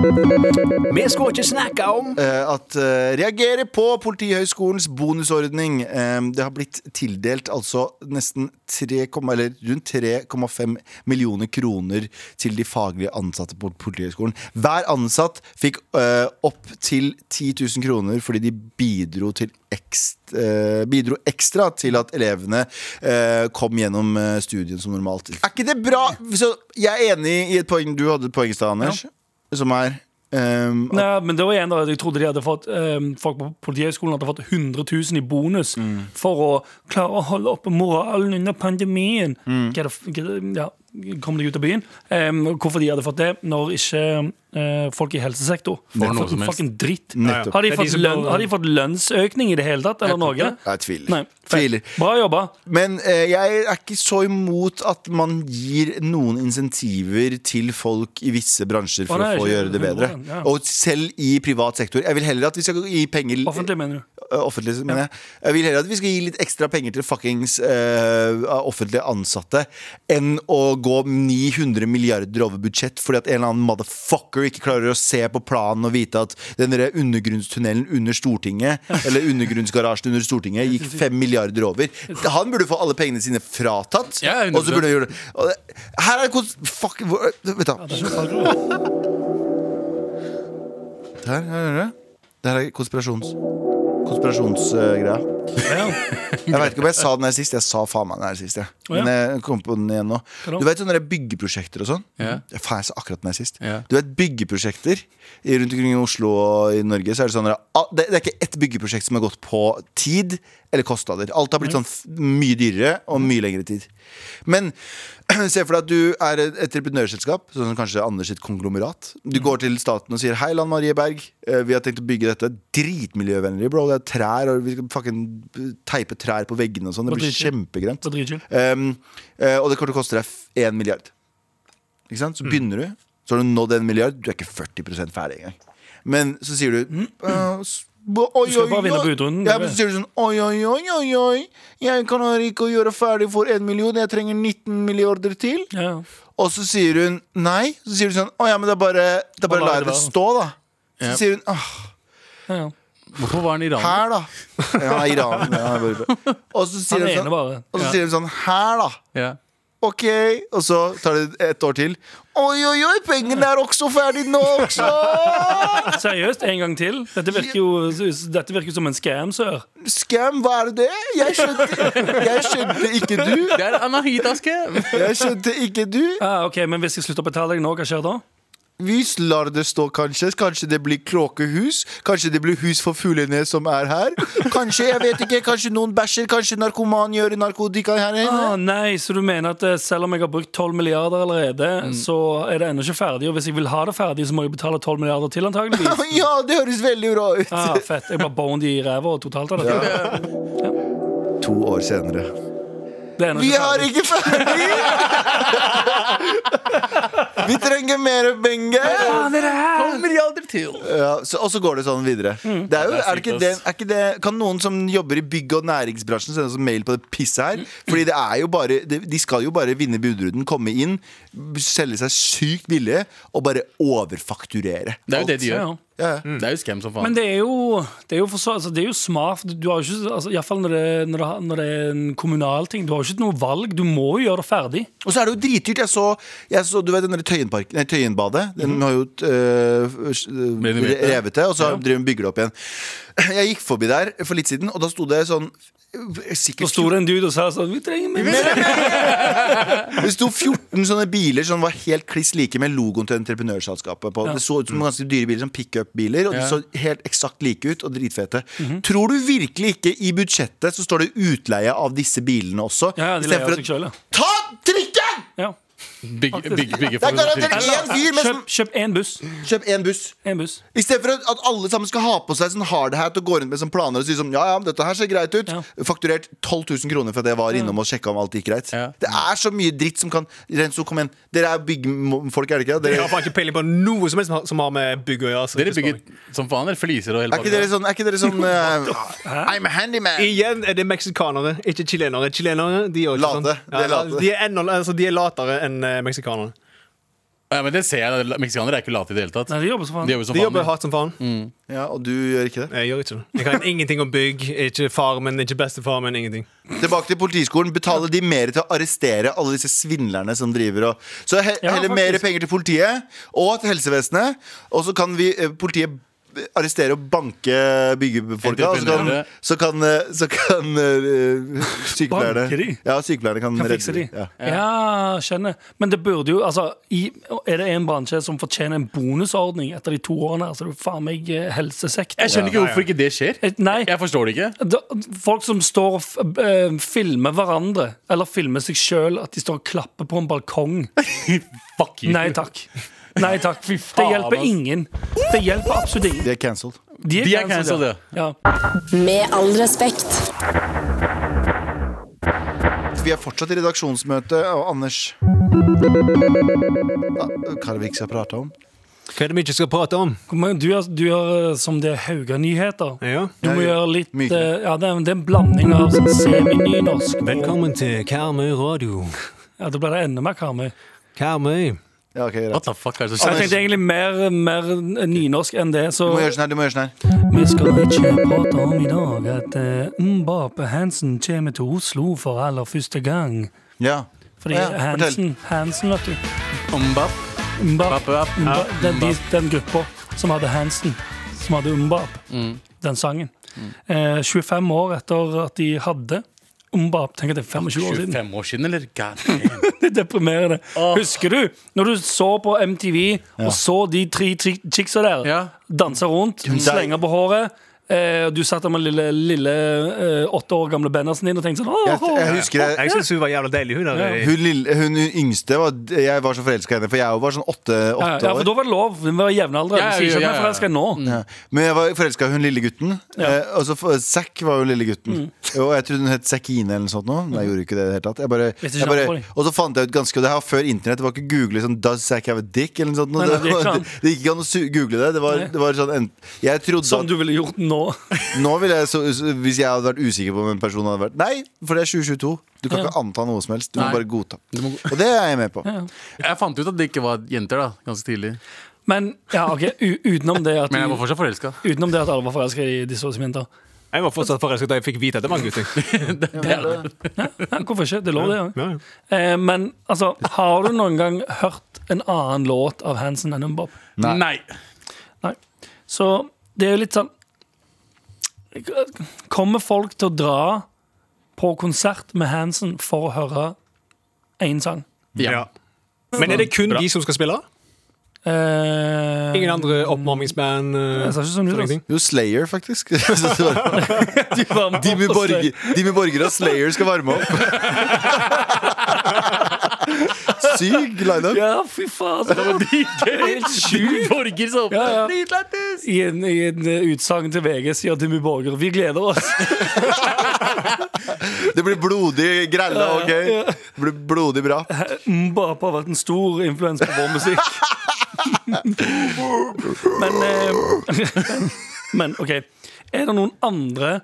Vi skal ikke snakke om
eh, at eh, reagerer på Politihøgskolens bonusordning. Eh, det har blitt tildelt altså nesten 3, komma- eller rundt 3,5 millioner kroner til de faglige ansatte på Politihøgskolen. Hver ansatt fikk eh, opp til 10 000 kroner fordi de bidro, til ekst, eh, bidro ekstra til at elevene eh, kom gjennom eh, studien som normalt. Er ikke det bra? Så jeg er enig i et poeng du hadde et poeng i stad, Anders. Som er ehm, at-
Nei, men det var igjen da, Jeg trodde de hadde fått ehm, folk på Politihøgskolen hadde fått 100 000 i bonus for å klare å holde oppe moralen under pandemien. Hva er det f- hva er det- ja, kom deg ut av byen. Em, og hvorfor de hadde fått det når ikke eh, folk i helsesektor
Får noe
fått
som helst.
fucking dritt.
Nettopp.
Har de,
Det er de
fått
som
lønn,
går-
har de fått lønnsøkning i det hele tatt, eller noe?
Jeg tviler.
Nei.
Tviler.
Bra jobba.
Men eh, jeg er ikke så imot at man gir noen insentiver til folk i visse bransjer for
Å, nei,
å få
ikke-
gjøre det bedre.
ja.
Og selv i privat sektor. Jeg vil heller at vi skal gi penger
Offentlig, mener du.
Eh, Offentlig, mener jeg. Jeg vil heller at vi skal gi litt ekstra penger til fuckings eh, offentlige ansatte enn å gå 900 milliarder over budsjett fordi at en eller annen motherfucker ikke klarer å se på planen og vite at den der undergrunnstunnelen under Stortinget, eller undergrunnsgarasjen under Stortinget, gikk 5 milliarder over. Han burde få alle pengene sine fratatt,
Ja, 100%.
og så burde han gjøre det. og det. Her er kons... Fuck hvor- Vet du Her, her er det. Det her er konspirasjons... Konspirasjonsgreia.
Ja.
Jeg vet ikke om jeg sa den her sist. Jeg sa faen meg den her sist. Jeg.
ja.
Men jeg kom på den igjen nå.
da?
Du vet sånne der byggeprosjekter og sånn?
Ja.
Faen, jeg sa akkurat den her sist.
Ja.
Du vet byggeprosjekter i- rundt omkring i Oslo og i Norge, så er det sånn der, ah, Det det er ikke ett byggeprosjekt som har gått på tid eller kostnader. Alt har blitt sånn f- mye dyrere og mye lengre tid. Men (clears throat) se for deg at du er et entreprenørselskap, sånn som kanskje Anders sitt konglomerat. Du går til staten og sier 'Hei, Lan Marie Berg, eh, vi har tenkt å bygge dette dritmiljøvennlig, bro. Det er trær, og vi skal fucking eh, teipe trær på veggene og sånn. Det
Og
blir
dritchill.
kjempegrønt.
Så dritchill.
Um, eh, og det kommer til å koste deg f- 1 milliard. Ikke sant?
Mm.
Så begynner du, så har du nådd 1 milliard. Du er ikke 40 ferdig engang. Men så sier du eh, s- bo- Oi,
skal
oi,
bare vinne
oi.
på utrunden,
Ja,
det
men så
vet
sier du sånn Oi, oi, oi, oi, oi. Jeg kan her ikke gjøre ferdig for 1 million. Jeg trenger 19 milliarder til.
Ja.
Og så sier hun nei. Så sier du sånn Å ja, men da bare, da bare lar jeg det stå, da. Så
Ja.
sier hun åh,
Ja.
Hvorfor var han iraner?
her, da.
(laughs)
Ja, Iran. Ja, bare- og så sier
Han
hun
ene
sånn,
bare.
og så sier hun sånn Her, da.
Ja.
Ok, og så tar det et år til Oi, oi, oi, pengene er også ferdig nå også
Seriøst, en gang til? Dette virker jo dette virker som en scam, sør.
Skam, hva er det? Jeg skjønte, jeg skjønte ikke du
Det er anahitaske!
(laughs) Jeg skjønte ikke du
Ah, ok, Men hvis jeg slutter å betale deg nå, hva skjer da?
Vi lar det stå kanskje Kanskje det blir kråkehus Kanskje det blir hus for fuglene som er her Kanskje, jeg vet ikke, kanskje noen bæsjer Kanskje narkoman gjør narkotika her inne
Ah, nei, Så du mener at eh, selv om jeg har brukt 12 milliarder allerede, så er det ennå ikke ferdig? Og hvis jeg vil ha det ferdig, så må jeg betale 12 milliarder til, antageligvis? (laughs)
Ja, det høres veldig bra ut
Ah, fett. Jeg bare boned i ræva totalt av dette.
To år senere
Det er ennå
Vi
ikke
er
ferdig.
ikke ferdig Vi trenger mer penger
Kommer aldri til.
Ja, så, og så går det sånn videre.
Mm.
Det er jo, er det ikke det, er ikke det, kan noen som jobber i bygg- og næringsbransjen sende oss en mail på det pisset
Mm.
her? Fordi det er jo bare det- De skal jo bare vinne budrunden, komme inn, selge seg sykt billige og bare overfakturere.
Det er jo det de
Ja,
gjør.
ja.
Ja.
Det er jo scam som faen.
Men det er jo, det er jo, for så, altså, det er jo smart. Du har jo ikke, altså, Iallfall når, det- når, det- når det er en kommunal ting. Du har jo ikke noe valg. Du må jo gjøre det ferdig.
Og så er det jo dritdyrt. Jeg så, jeg så du vet den der Tøyenpark- nei, Tøyenbadet.
Mhm.
Den har jo øh,
Renovert det.
revet det, og så driver den bygger det opp igjen. Jeg gikk forbi der for litt siden, og da sto det sånn
Så
Sikkert
sto det en dude og sa sånn Vi trenger mer!
Det sto 14 sånne biler som var helt kliss like med logoen til entreprenørselskapet. På. Det så ut som ganske dyre biler, som pickup-biler, og de
Ja.
så helt eksakt like ut og dritfete.
Mhm.
Tror du virkelig ikke i budsjettet så står det utleie av disse bilene også?
Ja, ja, de
istedenfor
leier av
å-
seg selv, ja.
Ta trikken!
ja.
Bygge, bygge, bygge
Det er
for
garantert én fyr med
Kjøp,
som
kjøp en buss.
Kjøp én buss.
En buss.
I stedet for at alle sammen skal ha på seg sånn hard hat og gå rundt med sånn planer og si sånn Ja, ja, dette her ser greit ut.
Ja.
Fakturert 12 000 kroner for at jeg var innom og sjekka om alt gikk greit.
Ja.
Det er så mye dritt som kan Renzo, kom igjen. Dere er byggfolk, er det ikke?
Jeg
Dere,
har faen ikke peiling på noe som helst som har- som har med bygg å gjøre. så
Dere
ikke
bygger
spør meg.
som faen, dere fliser og hele
Er ikke dere
pakka.
sånn, er ikke dere sånn eh, I'm a handyman
Igjen er det meksikanere, ikke chilenere. Chilenere de er jo ikke
Late.
sånn.
De er late.
de, er ennå- altså, de er latere enn eh, meksikanere.
Ja, men det ser jeg, Meksikanere er ikke late i det hele tatt.
Nei, de jobber så faen.
De jobber som
De jobber
faen.
hardt som faen.
Ja, og du gjør ikke det
Jeg gjør ikke det. Jeg kan ingenting om bygg. Ikke far min, ikke bestefar min, ingenting.
Tilbake til politiskolen Betaler de mer til å arrestere alle disse svindlerne som driver og Så he
Ja,
heller
faktisk.
mer penger til politiet Og til helsevesenet Og så kan vi, eh, politiet arrestere og banke byggefolka. Og så kan,
Entreprenører.
så kan, eh, så kan eh, sykepleierne
Banke de?
Ja, sykepleierne kan,
Kan fikse de.
redde de. Ja.
Ja, skjønner. Men det burde jo altså, i, Er det en bransje som fortjener en bonusordning etter de to årene, så er det jo faen meg eh, helsesektoren.
Jeg skjønner ikke hvorfor ikke det skjer.
Eh, Nei,
Jeg
(laughs)
forstår det ikke.
da, folk som står og f- eh, filmer hverandre, eller filmer seg sjøl, at de står og klapper på en balkong.
(laughs) Fuck you.
Nei takk. Nei takk. Fy faen,
faen,
det hjelper
ass.
ingen. Det hjelper absolutt ingen.
De er cancelled.
De er cancelled, ja.
ja.
Med all respekt.
Vi er fortsatt i redaksjonsmøte, og Anders ja, Hva er det vi ikke Ah, skal prate om?
Hva er det vi ikke skal prate om?
Kom igjen, Du gjør, du gjør eh, som det er Hauga-nyheter.
Ja.
Du må
Ja, ja.
gjøre litt
Mykere.
eh, Ja, det er, det er en blanding av sånn seminynorsk og-
Velkommen til Karmøy radio.
Ja, da blir det enda mer Karmøy.
Karmøy.
Ja, ok, greit.
What the fuck er det som
Så
skjer?
jeg tenkte egentlig mer, mer eh, nynorsk enn det, så
Du må gjøre sånn her. du må gjøre sånn her
vi skal ikke prate om i dag at uh, Mbappe Hansen kommer til Oslo for aller første gang.
Ja.
Fordi
Ja, fortell.
Hansen, Hansen, vet du
Omba,
Mbappe,
pappa,
Mba, den, de,
Omba.
den gruppa som hadde Hansen, som hadde Umbap, den sangen. Eh, 25 år etter at de hadde Umbap. Tenk at det er 25 år siden.
25 år siden, eller? God damn.
(laughs) Det er deprimerende. Husker du når du så på MTV og så de tre chi- chicksa der
Ja.
danse rundt, slenge på håret? Eh, og du satt der med lille, lille eh, åtte år gamle Bennersen din og tenkte sånn
Jeg,
åh,
jeg husker jeg,
Jeg syns hun var jævla deilig, hun. Der. eh,
hun, lille, hun yngste var, Jeg var så forelska i henne, for jeg var sånn åtte,
ja, ja,
åtte
for
år.
da var det lov. Vi var jevnaldrende.
Ja,
Ja, ja,
ja,
ja,
ja, ja. Mm.
forelska nå.
Ja. Men jeg var forelska i hun lille gutten. Eh, og så for- Zack var jo lille
Mm.
gutten. Og jeg trodde hun het Zackine eller noe sånt. nå, Men jeg gjorde ikke det i det hele tatt. Jeg bare,
ikke
jeg bare,
navnet på
og så fant jeg ut ganske Og det her var før internett. Det var ikke google sånn Does Zack have a dick? eller noe sånt. nå.
Nei, nei, det
det,
gikk
var,
ikke an.
(laughs) det, det gikk ikke an å su- google det. Det var, det var sånn en, Jeg trodde
Som
at
du ville gjort nå.
(laughs)
Nå ville jeg, så, Hvis jeg hadde vært usikker på om en person hadde vært Nei, for det er 2022. Du kan ikke anta noe som helst. Du
Nei.
må bare godta. Og det er jeg
(laughs)
med på.
Jeg fant ut at det ikke var jenter, da. Ganske tidlig.
Men ja, ok, u utenom det at
Men jeg
du-
var fortsatt forelska. (laughs)
Utenom det at alle var forelska i disse som jenter.
Jeg var fortsatt forelsket da jeg fikk vite at det var en gutting.
Ja, hvorfor ikke? Det lå det, ja. Eh, men altså, har du noen gang hørt en annen låt av Hansen enn Umbop?
Nei.
Nei. Så det er jo litt sånn Kommer folk til å dra på konsert med Hansen for å høre én sang?
Ja.
Men er det kun de som skal spille?
Eh,
Ingen andre oppvarmingsband? eh?
Det ser ikke sånn ut. altså.
Jo, Slayer, faktisk. (laughs) Så det var-
De var med
Jimmy
på
Borger, Jimmy Borger og Slayer skal varme opp. (laughs) Syk lineup.
Ja, fy faen. (laughs) Det var helt sjukt.
(laughs) Borger som
Ja, ja. I en, i en eh, utsagn til VG sier Jimmy Borger vi gleder oss.
Det blir blodig grelle og gøy. Det blir blodig bra.
Mbapp har vært en stor influens på vår musikk. men, eh, men OK. Er det noen andre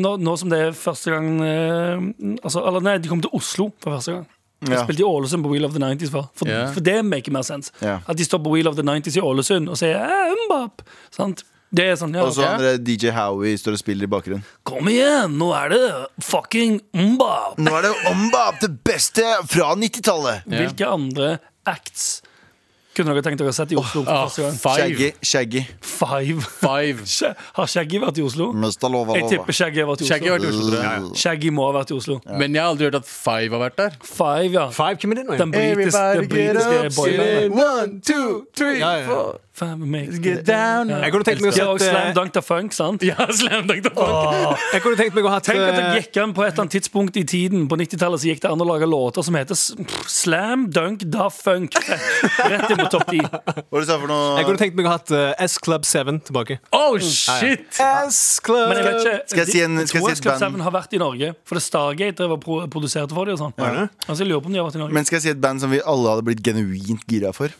nå, nå som det er første gang eh, altså, Eller nei, de kom til Oslo for første gang. De
Ja.
spilte i Ålesund på Wheel of the 90s før. For,
Ja.
for det maker mer sense.
Ja.
At de står på Wheel of the 90s i Ålesund og sier eh, Mbapp. Sant? Det er sånn, ja,
Og så
ok.
andre DJ Howie står og spiller i bakgrunnen.
Kom igjen, nå er det fucking Mbapp.
Nå er det Ombab, det beste fra 90-tallet.
Hvilke andre acts kunne dere tenkt dere å sette i Oslo for
Ah,
første gang?
five.
Shaggy. Shaggy.
Five.
five.
Shag- Har Shaggy vært i Oslo?
Mista lova
Jeg
lova.
tipper Shaggy har vært i
Shaggy har vært
Oslo.
i Oslo, tror jeg.
Shaggy må ha vært i Oslo.
Men jeg har aldri hørt at Five har vært der.
Five, ja.
Five, hvem er det nå? Eh,
Den britiske, det britiske boybandet.
One, two, three,
Ja, ja. four.
Five makes
Get down.
Jeg kunne tenkt meg å
De har også Slam
sette
Dunk da Funk, sant?
Ja, slam dunk the fuck.
Jeg kunne tenkt meg å ha eh,
Tenk at det gikk an på et eller annet tidspunkt i tiden På 90-tallet så gikk det an å lage låter som heter s- pff, Slam Dunk Da Funk. (laughs) Rett inn på topp 10.
Hva er det du sa for noe?
Jeg kunne tenkt meg å ha hatt eh, S Club 7 tilbake.
Oh, shit!
S Club
Men jeg vet ikke
Skal jeg si en-
de-
skal jeg si et
World Cup
band?
7 har vært i Norge, for det Stargate drev og pro- produserte for dem. og sånn. Altså, jeg lurer på om de har vært i Norge.
Men skal jeg si et band som vi alle hadde blitt genuint gira for?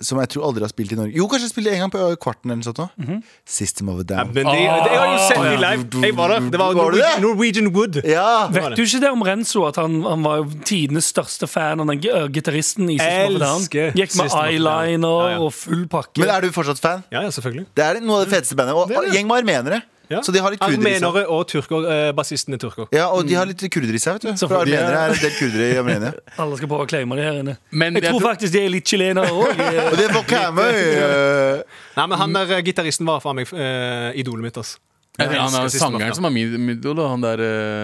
Som jeg tror aldri har spilt i Norge. Jo, kanskje jeg spilte en gang på Kvarten eller noe sånt. nå. System of a Down.
Men de, jeg har jo sett
Ah.
de live. Jeg var der. Det var
Var du det?
Norwegian, Norwegian Wood.
Ja!
Vet du ikke det om Renzo, at han, han var jo tidenes største fan av den gi- øh, gitaristen i System of a Down?
Elsker
Gikk med
System of a Down.
eyeliner
Ja, ja.
og full pakke.
Men er du fortsatt fan?
Ja, ja, selvfølgelig.
Mm. Det er noe av det feteste bandet. Og gjeng med armenere.
Ja.
Så de har litt kurder i seg.
Armenere og turker. Eh, bassisten er turker.
Ja, og de har litt kurder i seg, vet du. For
Selvfølgelig.
armenere er en del kurder i Armenia.
Alle skal prøve å claime det her inne.
Men
jeg
jeg
tror
tror-
faktisk de øh. er litt chilenere òg.
(laughs) Og det er fra Karmøy! eh,
Nei, men han der eh, gitaristen var faen meg eh, idolet mitt, ass.
Jeg tenker, han
elsker
er
siste
sangeren
låta.
som er min min idol, og han der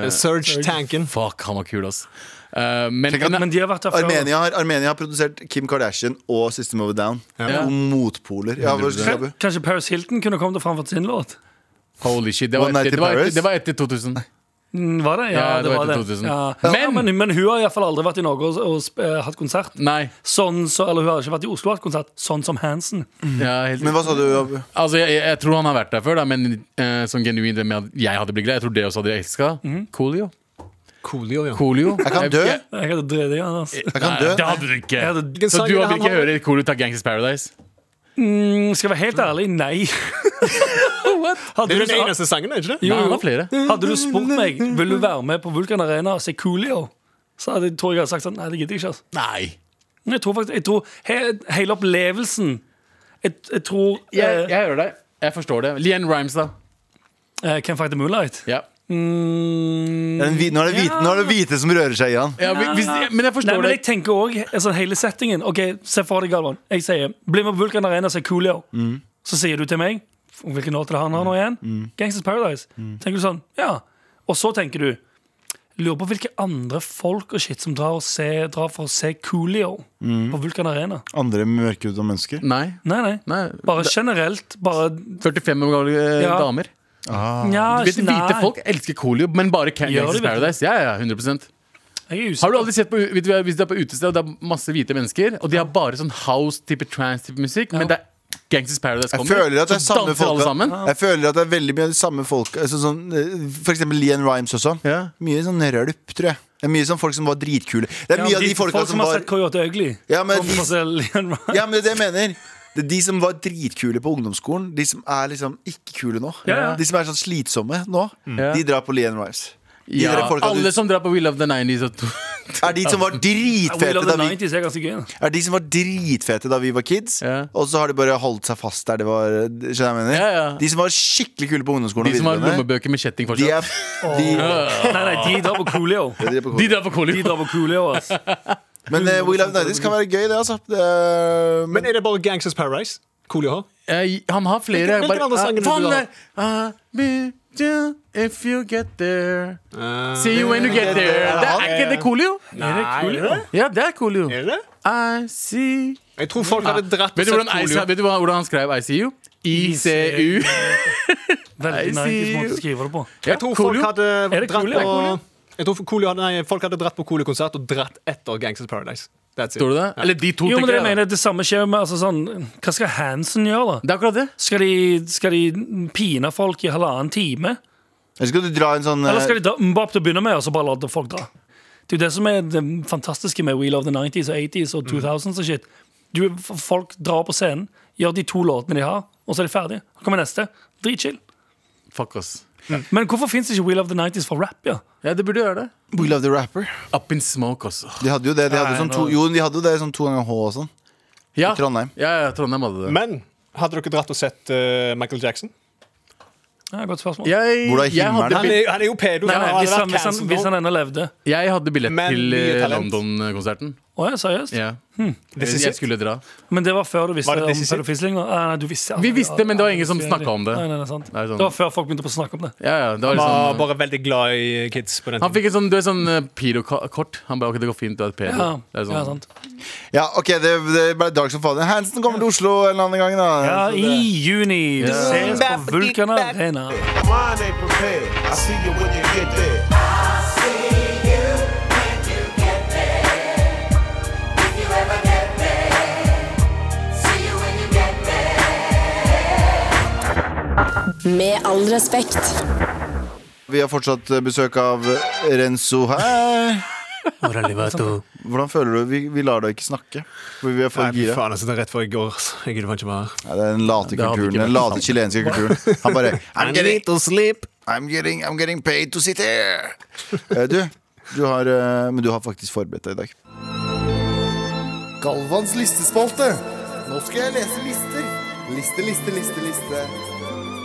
eh,
Surge Tanken.
Fuck, han var kul, ass. Eh, men
Tenk at-
men-
Men de har vært her før.
Armenia har, Armenia har produsert Kim Kardashian og System of a Down.
Ja.
To motpoler. Ja, hva skal jeg si?
Kan- Kanskje Paris Hilton kunne kommet og framført sin låt?
holy shit, det var,
One Night in
etter, det, var
Paris?
etter, det var etter 2000.
Mm, Var det? Ja,
Ja,
det,
det var
var
etter
det.
2000.
Ja.
Men-
Ja, men, men hun har iallfall aldri vært i Norge og, og sp- eh, hatt konsert.
Nei.
Sånn så, eller hun har ikke vært i Oslo og hatt konsert, sånn som Hansen.
Ja, helt,
Men hva sa du? Abu?
altså, jeg, jeg- jeg tror han har vært der før, da, men eh, sånn genuint det med at jeg hadde blitt glad. Jeg tror det også hadde jeg elska. Coolio.
Coolio, ja.
Coolio.
Jeg kan dø.
Jeg,
Jeg hadde drevet det, altså.
Jeg kan dø.
det hadde du ikke.
Jeg hadde,
Hvilken
Så
sang
du
er det
vil
han
ikke
har?
høre Coolio ta Gangsters Paradise?
Mm, skal jeg være helt ærlig, nei. (laughs)
Det
Hadde
er
du,
den eneste sangen, er ikke det?
Jo,
Nei, han
jo.
har flere.
hadde du spurt meg Vil du være med på Vulkan Arena og se Coolio, så hadde, tror jeg jeg hadde sagt sånn Nei, det gidder jeg ikke. altså
Nei.
Men Jeg tror faktisk, jeg tror he, hele opplevelsen Jeg, jeg tror
Jeg,
eh,
jeg hører deg. Jeg forstår det. Lian Rhymes, da.
eh, Can Fight the Moonlight Mm,
Ja.
Det er en hvit- Nå er det hvite, nå er det hvite som rører seg i han.
Ja, vi- hvis, men jeg
Nei,
forstår
men jeg
det.
tenker også altså, hele settingen Ok, se for deg, Galvan Jeg sier, bli med på Vulkan Arena og se Coolio
Mm.
Så sier du til meg Hvilken låt er det han har nå igjen? Gangsters Paradise
Mm.
Tenker du sånn, ja Og så tenker du Lurer på hvilke andre folk og shit som drar, og se, drar for å se Coolio
Mm.
På Vulkan Arena
Andre mørkhuda mennesker.
Nei.
Nei, nei,
Nei.
bare generelt Bare,
45 år gamle eh,
Ja.
damer.
Ah.
ja,
Vet, du, hvite
nei.
folk elsker Coolio, men bare Can
Gjør
Gangsters
de, vet du.
Paradise. Ja, ja, 100
Jeg er usikker.
Har du aldri sett på, vet du, hva, Hvis du er på utested og det er masse hvite mennesker, og de har bare sånn house-type trans-type musikk, men det er Gangsters Paradise
Jeg
kommer,
føler at det er
så
samme
danser alle sammen.
folka. Jeg føler at det er veldig mye av de samme folka. Altså sånn, eh, for eksempel Lian Rhymes også.
Ja.
Mye sånn rølp, tror jeg. Det er mye sånn folk som var dritkule. Det er mye
ja,
av de folka
folk
som
som har
var
sett Coyote Ugly
Ja, men
kommer
de-
for å se (laughs) Leon Ryan.
Ja, men det er det jeg mener. Det er de som var dritkule på ungdomsskolen, de som er liksom ikke kule nå.
Ja, ja.
De som er sånn slitsomme nå,
Mm. Ja.
de drar på Lian Rives. De
Ja,
der folka
alle
du,
som drar på We Love the 90s og
er de
(laughs)
som var
Will
dritfete
of
da vi,
the 90s er ganske gøy. da.
er de som var dritfete da vi var kids,
Ja.
og så har de bare holdt seg fast der det var Skjønner du hva jeg mener?
Ja, ja.
De som var skikkelig kule på ungdomsskolen
De
og
som har
videregående,
lommebøker med kjetting
de
fortsatt.
er de,
(laughs) Nei, nei, de drar på Coolio.
de er på kort.
De drar på
De
Coolio.
drar på Coolio, ass.
Men eh, We Love Nighties kan være gøy, det, altså. Det eh, er,
Men er det bare Gangsters Paradise? Coolio har?
Eh, Han har flere.
Hvilken-
jeg
hvilken andre sanger
Ah,
vil du
faen,
ha?
det er- I'll meet you If you get there
Eh,
See you when you get there. Det er ikke det Coolio?
Nei, er det det?
Ja, det er Coolio.
Er det det?
I see
Jeg tror folk hadde dratt
Vet du hvordan,
Coolio.
ICU, vet du hva- hvordan han skrev ICU? ICU.
Veldig
I see
90s måte
you.
å skrive det på.
Ja,
Jeg tror
Coolio.
folk hadde
Er det
dratt
Coolio?
på
Er det
jeg tror Coolio hadde, nei, folk hadde dratt på Coolio-konsert og dratt etter Gangsters Paradise. That's it.
Tror du det? Eller de to,
Jo, men
tenker
det
jeg.
jeg
da.
mener, det samme skjer med altså, sånn, Hva skal Hansen gjøre, da?
Det er akkurat det.
Skal de, skal de pine folk i halvannen time?
Eller skal du dra en sånn
Eller skal
eh,
de dra- bare opp til å begynne med, og så bare la folk dra? Det er jo det som er det fantastiske med Wheel of the 90s og 80s og 2000s og shit. Du, folk drar på scenen, gjør de to låtene de har, og så er de ferdige. Så kommer neste. Dritchill.
Fuck oss.
Men hvorfor fins ikke Wheel of the 90s for rap, ja?
Ja, det burde gjøre det.
We Love The Rapper?
Up in smoke også.
De hadde jo det. De hadde
Nei,
jo sånn to,
nå- Ah.
jo, de hadde jo det sånn to ganger H og sånn.
Ja.
Trondheim.
Ja, ja, Trondheim hadde det.
Men hadde dere dratt og sett eh, Michael Jackson?
ja godt spørsmål.
jeg,
Hvor er
jeg, hadde,
himmelen?
Han
bill-
er, han er jo pedo.
Nei,
Han
nei,
hadde
hvis,
vært
han, hvis, han,
cancelled
hvis
nå.
han ennå levde.
jeg hadde billett
Men
til
mye
eh,
talent.
London-konserten.
Å ja, seriøst?
(laughs)
Ja.
This is
Jeg
it.
skulle dra.
Men det var før du visste
Var det
om
This Is It?
pedofisling? da? Nei, nei, du visste
Vi visste, men det var ingen som
Nei,
snakket om det.
Nei, nei, det, er sant.
Det er sånn-
det var før folk begynte å snakke om det.
Ja, ja, det var
Han var
liksom,
bare veldig glad i kids på
han
den tiden.
fikk et sånn, du vet, sånn eh, pedokort. Han bare OK, det går fint, du er et pedo.
Ja,
Det er sånn.
ja, sant.
Ja, ok, det, det ble dag som fader. Hansen kommer til Oslo en eller annen gang, da.
ja
Så
I
det-
juni Vi ses på Vulkan Arena.
Mind ain't prepared. I see you when you get there.
Med all respekt.
Vi har fortsatt eh, besøk av Renzo her. Hvordan føler du? Vi, vi lar deg ikke snakke. For vi er for
Nei, fy
gira.
faen, altså, det er rett før i går. altså. Jeg gidder faen ikke være her.
Ja, det er den late
Det hadde
kulturen.
ikke vært
Den late
sant.
chilenske kulturen. Han
(laughs)
bare I'm getting,
to sleep.
I'm getting, I'm getting paid to sit here. Eh, Du, du har, eh, men du har faktisk forberedt deg i dag.
Galvans listespalte. Nå skal jeg lese lister. Liste, liste, liste, liste.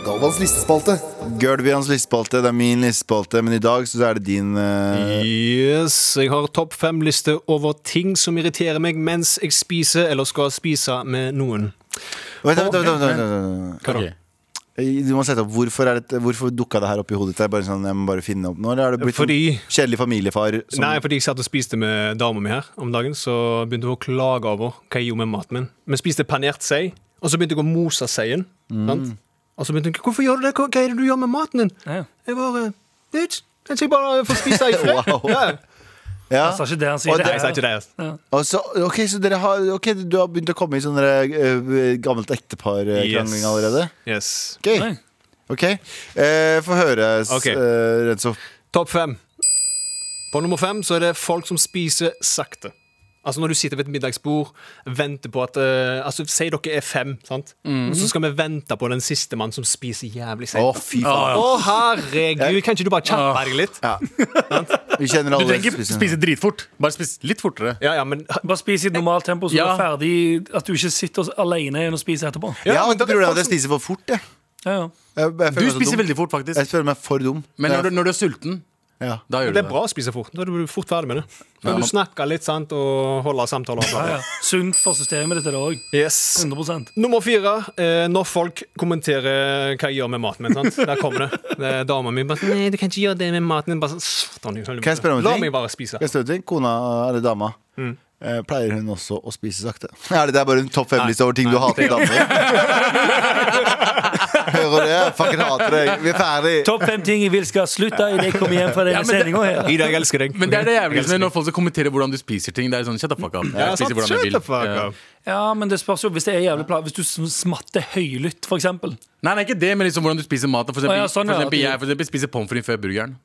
Galvans listespalte.
Gørbians listespalte, det er min listespalte, men i dag så er det din eh,
Yes, jeg har topp fem-liste over ting som irriterer meg mens jeg spiser eller skal spise med noen.
Vent, vent, vent, vent, vent, vent, vent.
Hva da?
Ok.
Eh, Du må sette opp, Hvorfor, er det, hvorfor dukka det her opp i hodet ditt? Er det Bare sånn, jeg må bare finne opp nå, eller er det blitt sånn
Fordi-
kjedelig familiefar? Som,
Nei, fordi jeg satt og spiste med dama mi her om dagen, så begynte hun å klage over hva jeg gjorde med maten min. Vi spiste panert sei, og så begynte jeg å mose seien. sant? Og så begynte hun Hvorfor gjør du det? Hva hva er det du gjør med maten din?
Ja, ja.
Jeg bare Bitch, kanskje jeg bare får spise i fred?
Wow.
ja.
ja.
Jeg sa ikke det han
Og
sier.
det-
Nei, jeg sa ikke det. altså.
Og så, ok, så dere har, ok, du har begynt å komme i sånne eh, gammelt ektepar-krangling
Yes.
allerede?
Yes.
Gøy.
Nei.
Ok, eh, få høre,
Ok.
okay. eh, Renzo.
Topp fem. På nummer fem så er det folk som spiser sakte. Altså Når du sitter ved et middagsbord, venter på at eh, Altså, Si dere er fem, sant? og så skal vi vente på den siste mannen som spiser jævlig
Å,
seint. Å,
fy faen.
herregud! Kan ikke du bare kjappe deg litt?
Vi kjenner
Du
alle
trenger ikke spise dritfort. Bare spis litt fortere.
Ja, ja, men
Bare spis i et normalt tempo, så
Ja.
du er ferdig. At du ikke sitter alene igjen og spiser etterpå.
Ja,
Ja, men
det
det er
problemet er
folk
at jeg spiser for fort, jeg.
Ja, ja.
jeg, jeg
Du spiser veldig fort,
Jeg
faktisk.
føler meg for dum.
Men når
Ja.
du, når du er sulten,
ja.
da gjør du
det er bra å spise fort. Da er du fort ferdig med det. Men
Ja,
du
man-
snakker litt sant, og holder samtaler. bla,
Ja,
bla,
ja. Sunt for systemet ditt er det òg.
bla. Yes.
100
Nummer fire. Eh, når folk kommenterer hva jeg gjør med maten min. Sant? Der kommer det. det er Dama mi bare sånn, Nei, du kan ikke gjøre det med maten din. Bare sånn, satan, du,
Kan jeg spørre om en
La
ting?
meg bare spise.
Kan jeg spørre en ting? Kona, eller dama,
Mm.
eh, pleier hun også å spise sakte? (laughs) Er det der bare en topp fem-liste over ting du hater i damer?
(laughs)
Hører du det? Fucking hater deg. Vi er ferdig.
Topp fem ting jeg vil skal slutte idet jeg kommer
(laughs)
hjem fra denne sendinga her.
Ida, jeg elsker deg.
Men det er det jævligste når folk skal kommentere hvordan du spiser ting. Det er sånn, shut the fuck up.
Ja,
Jeg spiser
sant?
hvordan jeg
Shut
vil.
the fuck
Ja.
up.
Ja, men det spørs jo hvis det er jævlig pla Hvis du sm- smatter høylytt, for eksempel.
Nei, nei, ikke det, men liksom hvordan du spiser maten. For
Å,
eksempel,
ja, sånn,
for
ja,
eksempel
at du-
jeg for eksempel, spiser pommes frites før burgeren.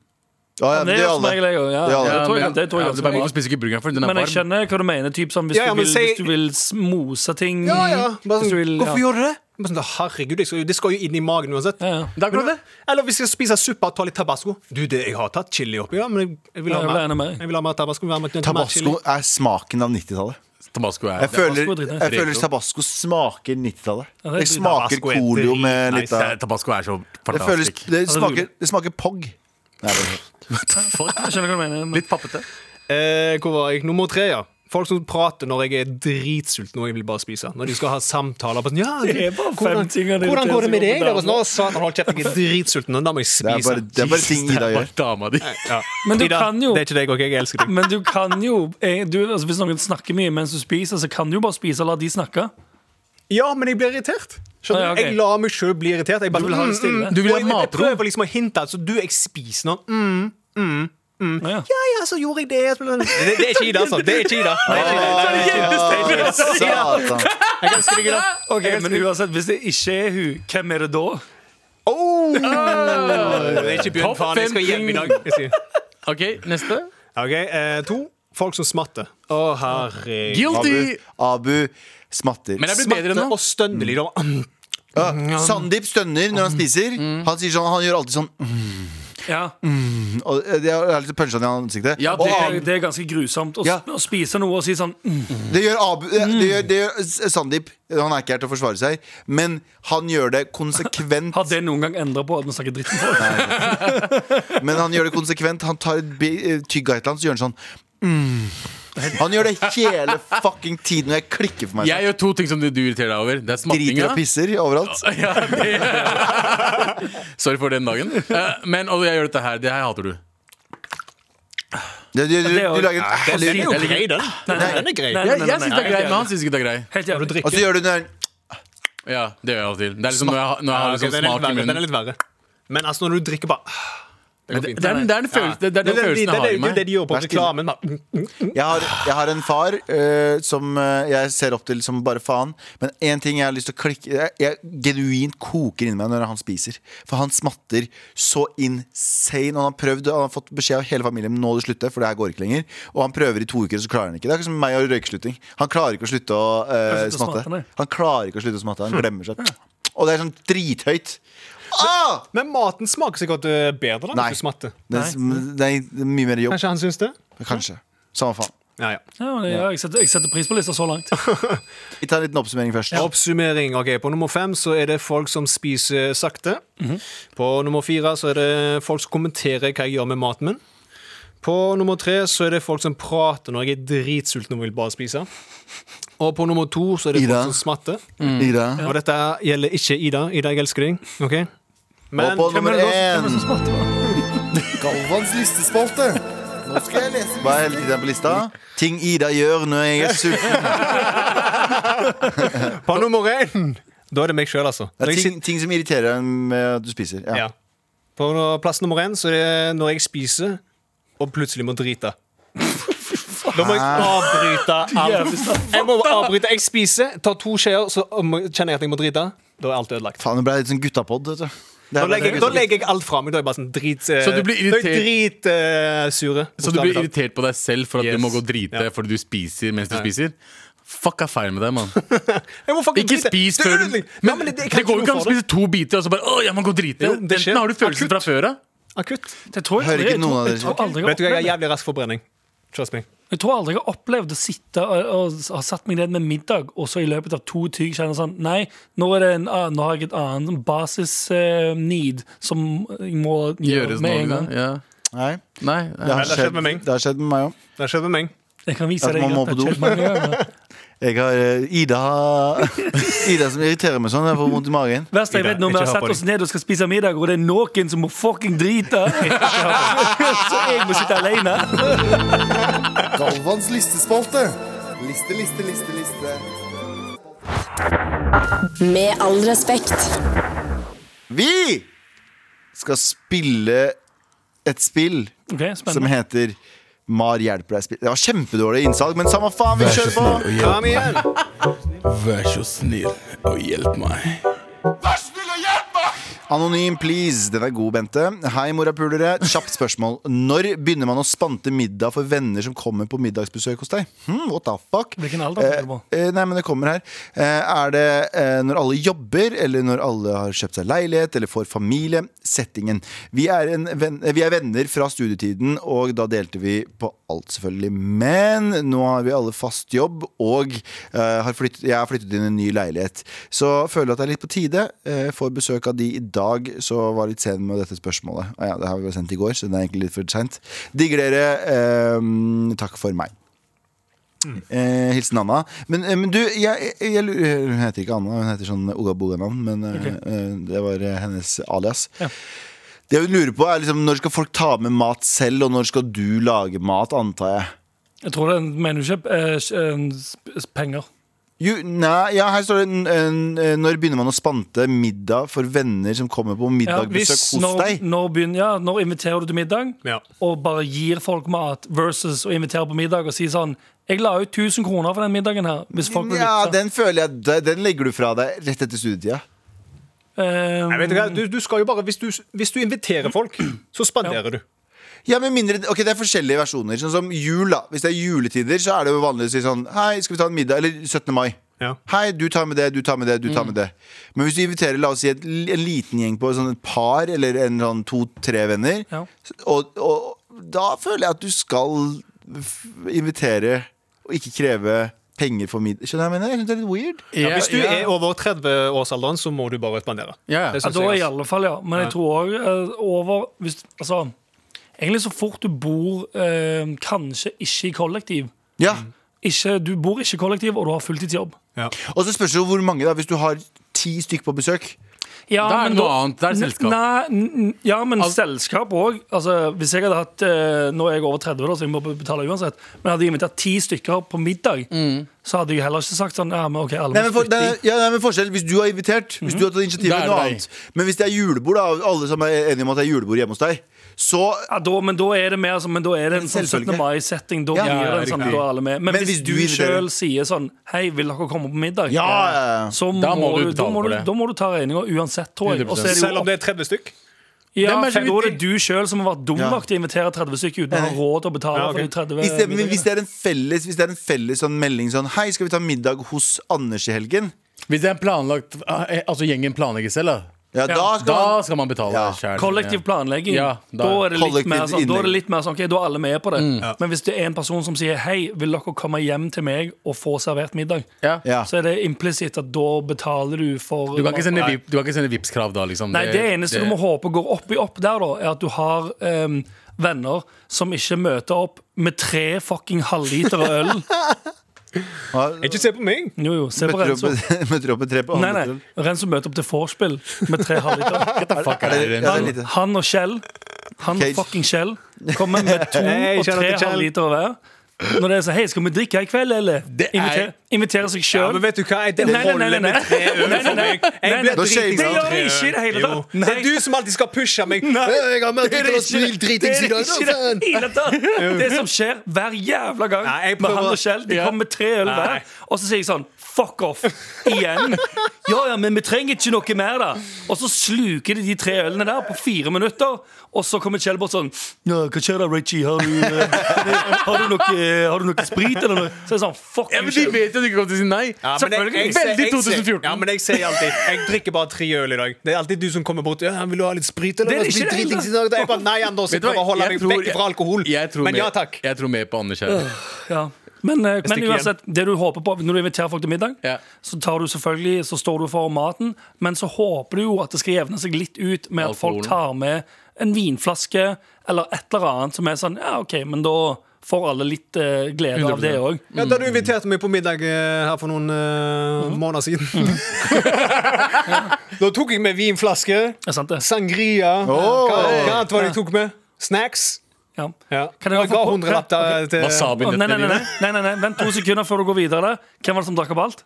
Ja, ja, men
Men det
det
er
gjør
som regel
alle.
jeg òg. Ja,
Det er alle.
det tror jeg-
men-
det tror jeg
ja,
også.
det er bare man spiser ikke burgeren, for den er
Men jeg
varm.
skjønner hva du mener. Typ, sånn, hvis,
Ja, ja,
du
men
vil,
si-
hvis du vil smose ting
Ja, ja. Bare
hvis
sånn,
du vil,
Hvorfor
ja.
gjorde du det? Bare sånn, Herregud, jeg skal, jo- det skal jo inn i magen uansett.
Ja, ja.
Det er akkurat det.
Eller hvis jeg spiser suppe og tar litt tabasco. Du, det, jeg har tatt chili oppi, ja, men jeg, jeg vil
Ja,
ha
jeg vil ha enda
mer.
mer.
Jeg vil ha mer tabasco. vil ha mer- mer chili.
Tabasco er smaken av 90-tallet.
Tabasco er
Jeg føler,
Tabasco er dritt, ja.
jeg føler tabasco smaker 90-tallet.
Ja,
Det
det er dritt.
smaker
Tabasco er
colio
dritt
med
nice.
litt
det
av
er- Tabasco er så
Det, føles,
fantastisk.
det,
Ja, det
smaker,
lurer.
det smaker pog. Nei, det er-
Jeg skjønner hva du mener. Men,
Litt pappete.
Eh, hvor var jeg? Nummer tre, ja. Folk som prater når jeg er dritsulten og jeg vil bare spise. Når de skal ha samtaler. Bare sånn, ja,
Det er bare fem
hvordan,
ting han irriterer
hvordan går det med
seg over på
deg? Da? Bare sånn, Å, satan, hold (laughs) kjeft, jeg er dritsulten. og Da må jeg
det
spise.
er bare, det er bare ting Ida gjør.
(laughs)
Bare dama (laughs) di.
Ja.
Men du
Ida,
kan jo-
Det er ikke deg, OK? Jeg elsker deg.
men du kan jo eh, du, altså, Hvis noen snakker mye mens du spiser, så kan du jo bare spise og la de snakke.
Ja, men jeg blir irritert.
Ah,
Skjønner du?
ja, ok.
Jeg lar meg sjøl bli irritert. Jeg bare,
Du vil ha det
mm,
stille.
mm.
Du vil ha
Og jeg-
matro.
Jeg prøver liksom å hinte altså, du, jeg spiser nå. Mm. Ah,
Ja, ja.
Ja, ja, så Ah. gjorde jeg det. Det, det er ikke Ida, altså. Det er ikke Ida. Det er ikke
Å,
Ida.
Satan.
Jeg elsker deg, Ida.
Ok, Men uansett, hvis det ikke er hun, hvem er det da?
Oh! Det er ikke Bjørn
Topp
Faen, jeg skal
fem
hjem i
ting.
dag. Jeg sier.
Ok, neste.
Ok, eh, To. Folk som smatter. Å, herregud.
Guilty!
Abu, Abu smatter.
Men jeg blir bedre
Smatter
nå.
og stønner litt. og- Mm.
Ja, Sandeep stønner når han spiser. Han, sier sånn, han gjør alltid sånn mm,
Ja,
og eh, Det er litt punchet i ansiktet.
Ja,
og
det-
Abu,
Det det er ganske grusomt å,
Ja.
å spise noe og si sånn mm,
det gjør, Abu, eh, det gjør, det gjør S- Sandeep. Han er ikke her til å forsvare seg, men han gjør det
(laughs)
konsekvent.
Har det noen gang endra på at vi snakker dritt om folk?
(laughs)
Men han gjør det konsekvent Han tar et bi- eh, tygg av et eller annet, så gjør han sånn mm. Han gjør det hele fucking tiden, og jeg klikker for meg.
Jeg gjør to ting som du du irriterer deg over. Det er
Driter
smattinga.
og pisser overalt.
Ja, det- Sorry for
(laughs)
den dagen. Eh, Men og jeg gjør dette her. Det her hater du.
Du, du, du,
det er
du
jo-
lager en
Den er jo
Jeg liker-
grei, den. Den
nei,
den er grei.
nei,
Jeg,
nei,
jeg
nei,
syns det er
nei.
grei, men han syns ikke det er grei.
Helt
Når du
jævlig.
drikker.
Og så gjør du den der
Ja, det gjør jeg av og til. Det er liksom når jeg, har- når jeg
Ja,
har
ok,
liksom
den, er litt
smak i
verre, den er
munnen.
litt verre. Men altså, når du drikker, bare ah, Det
Men
går
Det
fint.
det er den, det er den følelsen, det er den
Det er det-
følelsen jeg har i
det er jo det
meg.
de gjør på
Vær stille.
reklamen. bare, mm, mm.
Jeg har, jeg har en far eh, som eh, jeg ser opp til som bare faen. Men én ting jeg har lyst til å klikke Jeg, jeg genuint koker inni meg når han spiser. For han smatter så insane. Og han har prøvd, og han har fått beskjed av hele familien Nå må du slutte, for det her går ikke lenger. Og han prøver i to uker, og så klarer han ikke. Det er ikke som meg og røykeslutting. Han klarer ikke å slutte å eh,
slutte å
smatte.
smatte, nei.
Han klarer ikke å slutte å smatte. Han glemmer seg. Og det er sånn drithøyt. Ah!
Men maten smaker sikkert eh, bedre da,
Nei.
hvis du smatter.
Det, er, det er mye mer jobb.
Kanskje han syns det?
Kanskje. Samme faen.
Ja, ja.
Ja, det, ja, jeg, setter, jeg setter pris på lista så langt.
Vi tar en liten oppsummering først.
Oppsummering. ok, På nummer fem så er det folk som spiser sakte. På nummer fire så er det folk som kommenterer hva jeg gjør med maten min. På nummer tre så er det folk som prater når jeg er dritsulten og vil bare spise. Og på nummer to så er det
Ida.
folk som smatter.
Ida.
Og dette gjelder ikke Ida. Ida, jeg elsker deg. ok? Men
Og på nummer
Hvem
én (laughs) Galvans listespalte. Nå skal jeg lese Hva er hele tiden på lista? Ting Ida gjør når jeg er (laughs) sulten.
på nummer én Da er det meg sjøl, altså.
Det
Når
er
jeg
ting, ting som irriterer deg med at du spiser.
sit-
Ja.
ja. På no- plass nummer én så er det når jeg spiser og plutselig må drite. Da må jeg avbryte alt. Jeg må avbryte. Jeg spiser, tar to skjeer, så må- kjenner jeg at jeg må drite. Da er alt ødelagt.
Faen, det ble litt sånn guttapod. vet du. Det
Da
er
legger, jeg-
bare-
da legger jeg alt fra meg. Da er jeg bare sånn drit eh,
Så du blir irritert-
da er jeg Dritsure.
Så du blir irritert på deg selv for at
Yes.
du må gå og drite
Ja.
fordi du spiser mens du spiser? Fuck er feil med deg, mann.
Jeg må fucking
Ikke
drite.
spis
Det er
før du
ødelig. Ja,
Men
men
det,
det- jeg kan
går jo ikke
ikke
an
noe
å
for det.
spise to biter og så bare Å, jeg må gå og drite.
Jo, det skjer.
Enten har du følelsen fra før av.
Akutt.
Det tror jeg,
Hører ikke noen
jeg,
av
tror,
dere
jeg, tror
snakke.
aldri jeg,
Vet du hva,
har
jeg har
opplevd,
jævlig rask forbrenning. Trust me.
jeg tror aldri jeg har opplevd å sitte og, og, ha satt meg ned med middag, og så i løpet av to tygg kjenne sånn Nei, nå, er det en, annen- nå har jeg et annet basis-need som jeg må gjøre med
Gjøres noe
en
med
gang.
det. sånn Ja.
Nei,
Nei.
det
nei.
har
det har skjedd med meg.
skjedd- det har skjedd med meg òg.
Det har skjedd med meg.
Jeg kan vise
At
deg
man må
at
på do.
det har skjedd mange
(laughs)
ganger.
Jeg har eh, Ida (laughs) Ida som irriterer meg sånn. Jeg får vondt i magen.
Verst jeg
Ida,
vet når vi har
ikke ha
satt
på
oss ned og skal spise middag, og det er noen som må fucking
(laughs)
drite. (laughs) Så jeg må sitte alene.
Galvans listespalte. Liste, liste, liste, liste.
Med all respekt.
Vi skal spille et spill
Ok,
som
spennende.
heter Mar hjelper deg spill. Det var kjempedårlig innsalg, men samme faen, vi kjører på!
Kom igjen!
Vær så snill og hjelp meg.
Anonym, please. Den er god, Bente. Hei, morapulere. Kjapt spørsmål. Når begynner man å spante middag for venner som kommer på middagsbesøk hos deg? Hmm, what the fuck?
Hvilken alder tenker du på?
Eh, eh, nei, men det kommer her. Eh, er det eh, når alle jobber, eller når alle har kjøpt seg leilighet, eller får familie? Settingen. Vi er, en venn, eh, vi er venner fra studietiden, og da delte vi på alt, selvfølgelig. Men nå har vi alle fast jobb, og eh, har flyttet, jeg har flyttet inn i en ny leilighet. Så føler jeg at det er litt på tide. Eh, får besøk av de i dag, så var litt sen med dette spørsmålet. Ah, ja, det har vi vel sendt i går, så det er egentlig litt for seint. Digger dere. Eh, takk for meg. Eh, hilsen Anna. Men, eh, men du, jeg, jeg, jeg, lurer- hun heter ikke Anna, hun heter sånn Oga Boga-navn. Men eh, eh, det var eh, hennes alias. Det hun lurer på, er liksom når skal folk ta med mat selv, og når skal du lage mat, antar jeg.
Jeg tror det er en menneske eh, en sp- penger.
Jo, nei, ja, her står det n- n- eh, Når begynner man å spante middag for venner som kommer på
Ja,
middagbesøk
hvis-
hos
når,
deg?
Når, begynner, ja, når inviterer du til middag
Ja.
og bare gir folk mat, versus å invitere på middag og si sånn Jeg la ut 1000 kroner for den middagen her, hvis folk vil
Ja,
vippse.
den føler jeg de- Den legger du fra deg rett etter studietida.
Eh,
Nei, vet du, hva? Du, du skal jo bare, hvis du, hvis du inviterer folk, så spanderer du.
Ja, med mindre, ok, Det er forskjellige versjoner. Sånn som jul, da. Hvis det er juletider, så er det jo vanlig å si sånn Hei, skal vi ta en middag? Eller 17. mai.
Ja.
Hei, du tar med det, du tar med det, du tar med det. Men hvis du inviterer la oss si et, l- en liten gjeng på sånn et par eller en sånn to-tre venner,
Ja.
s- og, og da føler jeg at du skal f- invitere og ikke kreve penger for middag. Skjønner du hva jeg mener? Jeg synes det er litt weird.
Ja, hvis du er over 30-årsalderen, så må du bare spandere.
Ja, ja.
Det
Ja,
synes
da
jeg,
i
altså.
alle fall, ja. Men jeg tror òg over hvis, Altså, egentlig så fort du bor eh, kanskje ikke i kollektiv
Ja.
ikke, Du bor ikke i kollektiv, og du har fulltidsjobb.
Og så spørs det jo hvor mange, da. Hvis du har ti stykk på besøk.
Ja,
Da er
men
det noe annet. Da er det selskap.
Nei, n- n- ja, men selskap òg. Altså, hvis jeg hadde hatt eh, Nå er jeg over 30, da, så jeg må betale uansett. Men hadde jeg invitert ti stykker på middag,
Mm.
så hadde jeg heller ikke sagt sånn ja, men ok, alle
Nei, men,
må
for,
flytte
nei,
i.
ja, nei, men forskjell, Hvis du har invitert, hvis du har tatt initiativ,
Da
er
er
det noe
det deg.
annet. Men hvis det er julebord, da, og alle som er enige om at det er julebord hjemme hos deg, så
Ja, da, men da er det mer som Men da er det en sånn
Selvfølgelig.
17. mai-setting. Da
Ja,
blir
ja,
det en sånn,
riktig.
da er alle med. Men,
Men
hvis,
hvis
du
du inviterer-
sjøl sier sånn Hei, vil dere komme på middag?
Ja, ja, ja.
Så må,
Da må
du,
du
da,
betale
må
for
du,
det.
da må du ta regninga uansett, tror jeg. Og så er det
Selv
jo
om det er 30 stykk.
ja,
Hvem er
for
så
da er det
uti-
du sjøl som har vært dum
Ja.
nok til å invitere 30 stykker uten å ha råd til å betale
Ja, ok.
for de
hvis
30
det, men hvis det er en felles, hvis det er en felles sånn melding sånn Hei, skal vi ta middag hos Anders i helgen?
Hvis det er en planlagt eh, Altså gjengen planlegger selv, da.
Ja, da skal man
Da skal man betale
Ja.
selv.
Kollektiv planlegging.
Ja,
da, er det litt
Kollektivt
mer sånn, da er det
innlegg.
litt mer sånn Ok, da er alle med på det.
Mm.
Men hvis det er en person som sier Hei, vil dere komme hjem til meg og få servert middag,
Ja.
Ja.
så er det implisitt at da betaler du for
Du kan ikke sende,
Nei.
vip, du kan ikke sende Vipps-krav da, liksom.
Nei, det eneste du må håpe går opp i opp der, da, er at du har em, venner som ikke møter opp med tre fucking halvliter øl.
(laughs)
Ikke se på meg!
Jo, jo, se på
Møter opp,
Renzo.
(laughs) møter opp et tre på
Nei,
andre
nei,
trinn.
Renzo møter opp til vorspiel med tre halvliter.
Fuck, er det, sånn.
Ja, det er
Han,
lite.
han og Kjell, han
Cage.
fucking Kjell, kommer
(laughs)
med to
Hei,
og
Kjell
tre
til Kjell.
halvliter hver. Når det er sånn Hei, skal vi drikke i kveld, eller?
Det er-
Inviter, invitere seg
Ja,
sjøl.
men vet du hva? Det
Nei, nei, nei,
holder
nei, nei.
med tre øl
Nei, nei,
for
nei.
meg. Jeg
Nei,
blir
nei.
Det
dritings av
gjør
tre
jeg ikke i det hele
øl.
tatt.
Jo. Det
Nei.
er du som alltid skal pushe meg. Jeg
(laughs)
har
Det er
mer
ikke det. Det er ikke det hele tatt. Det som skjer hver jævla gang
Nei, jeg
med
prøver-
han og Kjell, de
Ja.
kommer med tre øl
Nei.
hver, og så sier jeg sånn Fuck off. Igjen.
(laughs)
Ja, ja, men vi trenger ikke noe mer, da. Og så sluker de de tre ølene der på fire minutter, og så kommer Kjell bort sånn Ja, hva skjer da, Reggie? Har du, eh, (laughs) har du, noe, har du noe sprit, eller noe? Så er det sånn Fuck
ja,
you,
men de
Kjell.
vet jo at du ikke kommer til å si nei.
Ja, men jeg, jeg,
Veldig
jeg- jeg-
2014.
Ja, men jeg sier alltid Jeg drikker bare tre øl i dag. Det er alltid du som kommer bort. Ja, 'Vil du ha litt sprit?' Eller?
Det er ikke
Jeg blir
det
dritings i
hele
dag. Det er bare nei, Anders. Jeg
Vet du hva?
prøver å holde
Jeg
meg
tror-
vekk fra alkohol.
Jeg tror
Men
mer-
ja takk.
Jeg tror mer på Anders her.
Ja. Men, eh, men
stikker
uansett, det du håper på når du inviterer folk til middag,
Ja.
så tar du selvfølgelig, så står du for maten, men så håper du jo at det skal jevne seg litt ut med at folk
Alkoholen.
tar med en vinflaske eller et eller annet som er sånn Ja, OK, men da får alle litt eh, glede av det òg.
Ja, da du
Mm.
inviterte meg på middag eh, her for noen eh, måneder
(laughs)
siden. da tok jeg med vinflaske,
Er sant det?
sangria
Åh.
Hva hva annet var det jeg tok med? Snacks.
Ja.
Ja.
Kan jeg
Og jeg
få
ga
på-
100 lapp
Ja,
til,
Eh,
til
Å, nei, nei,
Wasabi-nøttene
nei, nei,
dine.
nei, nei, nei, vent to sekunder før du går videre. Hvem var det som drakk opp alt?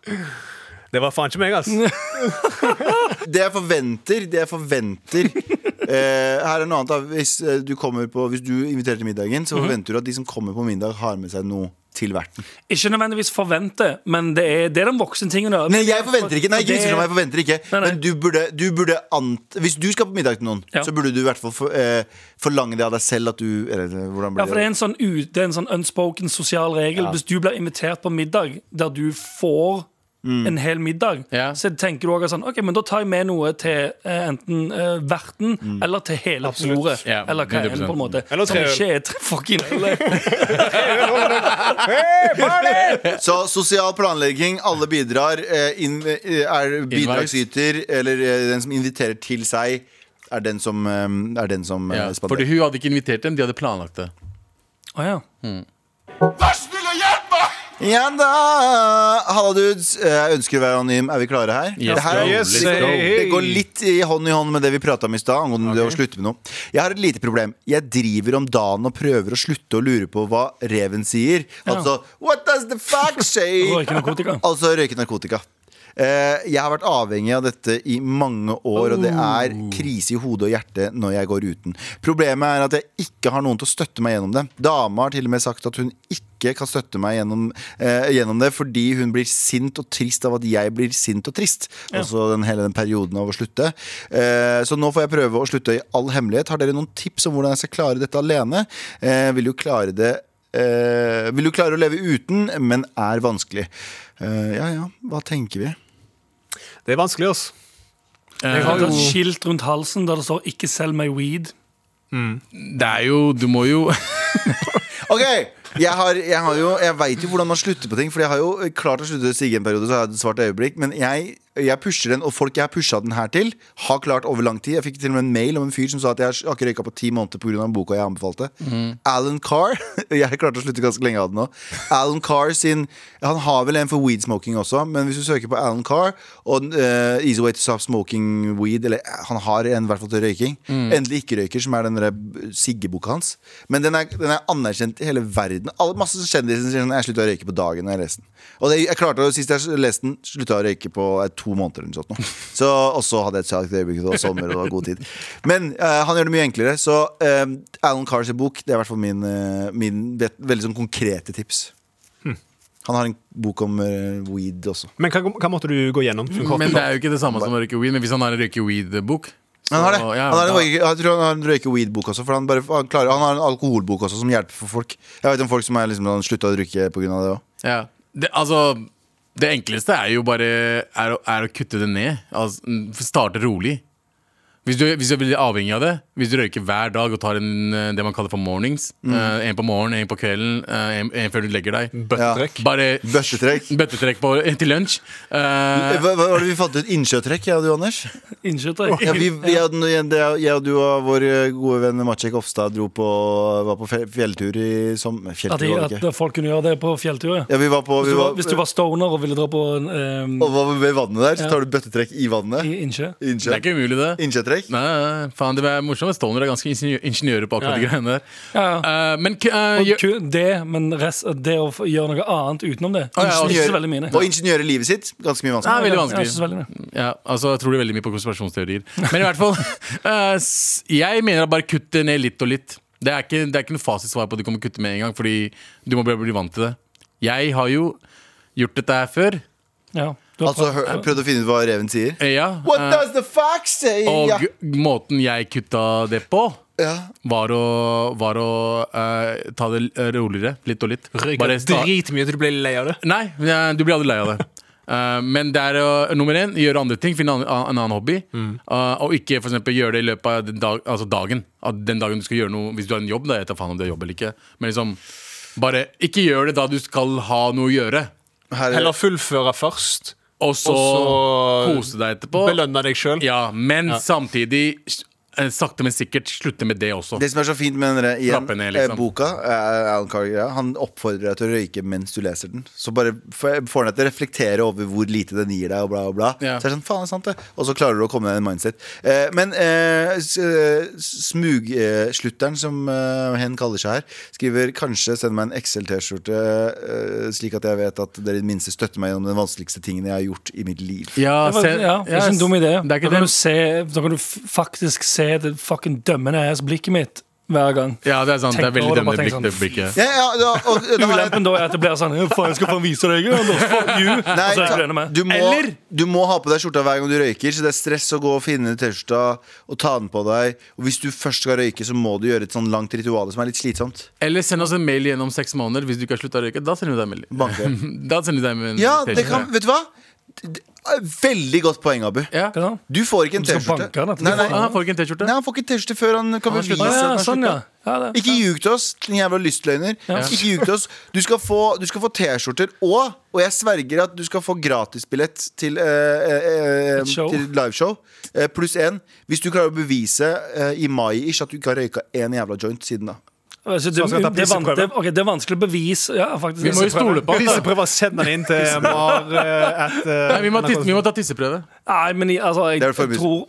Det var faen ikke meg,
(laughs)
altså.
Det jeg forventer, det jeg forventer eh, Her er noe annet da. hvis, eh, du kommer på, hvis du inviterer til middagen Så forventer du at de som kommer på middag Har med seg noe til verten
Ikke nødvendigvis forvente, men det er, det er den voksne tingen. å gjøre.
Nei, jeg forventer ikke, nei,
Og
ikke
det-
misforstå meg, jeg forventer ikke
Nei, nei.
Men du burde, du burde ant, Hvis du skal på middag til noen
Ja.
Så burde du i hvert fall for, eh, forlange det av deg selv At du, eller hvordan
Ja,
blir
for det er en sånn, u- det er en sånn unspoken sosial regel. Hvis du blir invitert på middag der du får
Mm.
en hel middag,
Ja.
så tenker du også sånn Ok, men da tar jeg med noe til eh, enten eh, verten
Mm.
eller til hele bordet.
Ja,
eller hva enn, på en måte.
Eller
Som
tre øl.
ikke er tre
(laughs)
fucking øl.
Så sosial planlegging, alle bidrar. eh, inn- eh, er bidragsyter, eller eh, den som inviterer til seg, er den som, eh, er den som eh,
Ja, fordi
spanderer.
hun hadde ikke invitert dem, de hadde planlagt det.
Å ja.
Vær snill og hjelp meg! Igjen, da! Halla, dudes. Eh, Jeg ønsker å være anonym. Er vi klare her?
Yes,
det, her
go. Yes,
det, går,
hey.
det går litt i hånd i hånd med det vi prata om i stad, angående det å slutte med noe. Jeg har et lite problem. Jeg driver om dagen og prøver å slutte å lure på hva reven sier. Altså What does the
(laughs)
fuck say?
Røyke narkotika.
Altså røyke narkotika. Eh, jeg har vært avhengig av dette i mange år, og det er krise i hodet og hjertet når jeg går uten. Problemet er at jeg ikke har noen til å støtte meg gjennom det. Dama har til og med sagt at hun ikke kan støtte meg gjennom, eh, gjennom det fordi hun blir sint og trist av at jeg blir sint og trist. Altså den, hele den perioden av å slutte. Eh, så nå får jeg prøve å slutte i all hemmelighet. Har dere noen tips om hvordan jeg skal klare dette alene? Eh, vil jo klare det Eh, vil du klare å leve uten, men er vanskelig. Eh, ja ja, hva tenker vi?
Det er vanskelig, altså.
Jeg har jo et
Eh,
skilt rundt halsen der det står 'ikke selg meg weed'.
Det er jo Du må
(laughs)
jo
Ok, Jeg, har, jeg, har jo, jeg vet jo hvordan man slutter på ting, Fordi jeg har jo klart å slutte å stige en periode, så har jeg et svart øyeblikk. Men jeg, jeg pusher den, og folk jeg har pusha den her til, har klart over lang tid. Jeg fikk til og med en mail om en fyr som sa at jeg har ikke røyka på ti måneder pga. boka jeg anbefalte. Alan Carr. (laughs) Jeg har klart å slutte ganske lenge av den nå. Alan Carr sin Han har vel en for weed smoking også, men hvis du søker på Alan Carr og eh, Easy Way to Stop Smoking Weed, eller eh, han har en i hvert fall til røyking, Endelig ikke-røyker, som er den der Sigge-boka hans. Men den er, den er anerkjent i hele verden. Alle, masse kjendiser sier sånn Jeg slutta å røyke på dagen da jeg leste den. Og det, jeg klarte å, Sist jeg leste den, slutta jeg å røyke på eh, to måneder eller noe sånt. nå. Så, og så hadde jeg et svakt øyeblikk, det var sommer, og det var god tid. Men eh, han gjør det mye enklere. Så eh, Alan Carrs bok Det er i hvert fall min, eh, min vet, veldig sånn konkrete tips. Han har en bok om eh, weed også.
Men hva, hva måtte du gå gjennom?
Men det er jo ikke det samme som å røyke weed. Men hvis han har en røyke weed-bok så-
Han har det.
ja,
Han har en,
da-
røyke- jeg tror han har en røyke-weed-bok også. For han, bare, han, klarer, han har en alkoholbok også som hjelper for folk. Jeg vet om folk som har liksom, sånn, slutta å drikke pga. det òg.
Ja. Det, altså, det enkleste er jo bare er, å- er å kutte det ned. Altså, mm, starte rolig. Hvis du, hvis du er veldig avhengig av det, hvis du røyker hver dag og tar en, eh, det man kaller for mornings,
Mm.
eh, en på morgenen, en på kvelden, eh, en, en før du legger deg
Bøttetrekk.
Bare
Bøttetrekk.
(laughs)
bøttetrekk på, til lunsj. Eh,
Hva, hva var det vi fant ut? Innsjøtrekk, jeg og du, Anders?
Innkjøttet.
Ja,
(laughs)
vi, vi, hadde noe igjen, det er- jeg og du og vår eh, gode venn Maciek Ofstad dro på, var på fe- fjelltur i som, eh,
At,
Fjelltur
de,
var det
at
ikke.
folk kunne gjøre det på fjellturer.
Ja, vi var på
Hvis
vi
du, var,
var,
hvis du var stoner og ville dra på en ehm,
Og var ved vannet der, så
Ja.
tar du bøttetrekk i vannet.
i Innsjø
det er
Innsjø.
ikke umulig, det.
Innsjøtrekk.
Nei, nei, nei, faen, det er morsomt. Stovner er ganske ingeniør- ingeniører på akkurat
Ja, ja.
de greiene der.
Ja,
Eh, men k- eh,
Og
gjør-
ku- det, men rest, det å få gjøre noe annet utenom det.
ja, og
Ikke
Ingeniør-
så veldig mye. nei.
Og ingeniører livet sitt. Ganske mye
Nei,
vanskelig.
veldig
Ja,
vanskelig.
ja, ikke så veldig mye.
Ja, altså jeg tror det veldig mye på konspirasjonsteorier. Men i hvert fall, (laughs) eh, s- jeg mener at bare kutt det ned litt og litt. Det er ikke, det er ikke noe fasitsvar på at du kommer kutte med en gang, fordi du må bare bli vant til det. Jeg har jo gjort dette her før.
Ja, du har
Altså, hør-
prøvd-
prøvd å finne ut hva reven sier.
Eh, Ja,
What
eh,
does the fox say?
og
Ja.
måten jeg kutta det på,
Ja.
var å, var å eh, ta det eh, roligere. Litt og litt.
Røyker
sta-
dritmye til du blir lei av det.
Nei, eh, du blir aldri lei
(laughs)
av det. Eh, men det er å- nummer én gjøre andre ting. Finne an, an- en annen hobby.
Mm.
Eh, og ikke for eksempel, gjøre det i løpet av den dag, altså dagen. At den dagen du skal gjøre noe Hvis du har en jobb, da. Jeg tar faen om du har jobb eller ikke. Men liksom, bare ikke gjør det da du skal ha noe å gjøre.
Her er
Heller fullføre først.
Og så,
Og så
kose deg etterpå.
Belønne deg sjøl.
Ja, men samtidig, eh, sakte, men sikkert, slutte med det også.
Det som er så fint med denne igjen,
Trappe ned, liksom.
eh, boka, eh, Alan Carr, han oppfordrer deg til å røyke mens du leser den. Så bare f- får han deg til å reflektere over hvor lite den gir deg, og bla, og bla.
Ja.
Så er det sånn, faen, det er sant det. Og så klarer du å komme deg i en mindset. Eh, men eh, s- eh, smugslutteren, som eh, hen kaller seg her, skriver kanskje send meg en XL-T-skjorte, eh, slik at jeg vet at dere i det minste støtter meg gjennom den vanskeligste tingen jeg har gjort i mitt liv.
Ja,
Det var-
se-
ja, det er ikke en dum idé.
Det er
Da
ikke
kan, du
det.
se, da kan du f- faktisk se det fucking dømmende ass blikket mitt hver gang.
Ja, det er sant. Det er
Tenk
veldig
over det, bare
dømmende
tenk
blikk.
sånn,
det blikket.
Ja, ja, da, og, da har jeg-
Ulempen da er at det blir sånn «Ja, Faen, skal faen vise deg! Anders, Fuck you!
Nei,
og så er Altså, jeg
ta-
ikke enig med.
du, må,
Eller-
du må ha på deg skjorta hver gang du røyker, så det er stress å gå og finne T-skjorta og ta den på deg. Og hvis du først skal røyke, så må du gjøre et sånn langt ritual som er litt slitsomt.
Eller send oss en mail gjennom seks måneder hvis du ikke har slutta å røyke. Da sender vi deg en melding.
Banke.
(laughs)
(laughs) Da sender vi deg en
Ja, det
T-skjorte.
kan, vet du hva? D- d- Veldig godt poeng, Abu.
Ja.
Hva da?
Du får ikke en
Du skal
T-skjorte.
banke han, at du
Nei,
får-
nei,
Ah, får ikke en T-skjorte?
nei, han får ikke T-skjorte før han kan bevise
Å,
at
ja,
han har
sånn, ja.
slutta.
ja det.
Ikke ljug til oss, din jævla lystløgner. Ikke ljug til oss. Du skal få, du skal få T-skjorter og, og jeg sverger at du skal få gratisbillett til, eh, eh, eh,
Et show.
til liveshow. Eh, pluss én. Hvis du klarer å bevise eh, i mai-ish at du ikke har røyka én jævla joint siden da.
Altså, det,
Så skal jeg ta
det, er van-
pisseprøve.
det, ok, det er vanskelig å bevise. Ja, faktisk.
Vi må jo stole på
Hvis jeg
han. da.
prøver å sende den inn til Mar eh, at, eh,
Nei, vi, må tisse, vi må ta tisseprøve.
Nei, men i- altså, jeg,
Det er det forbudt.
tror,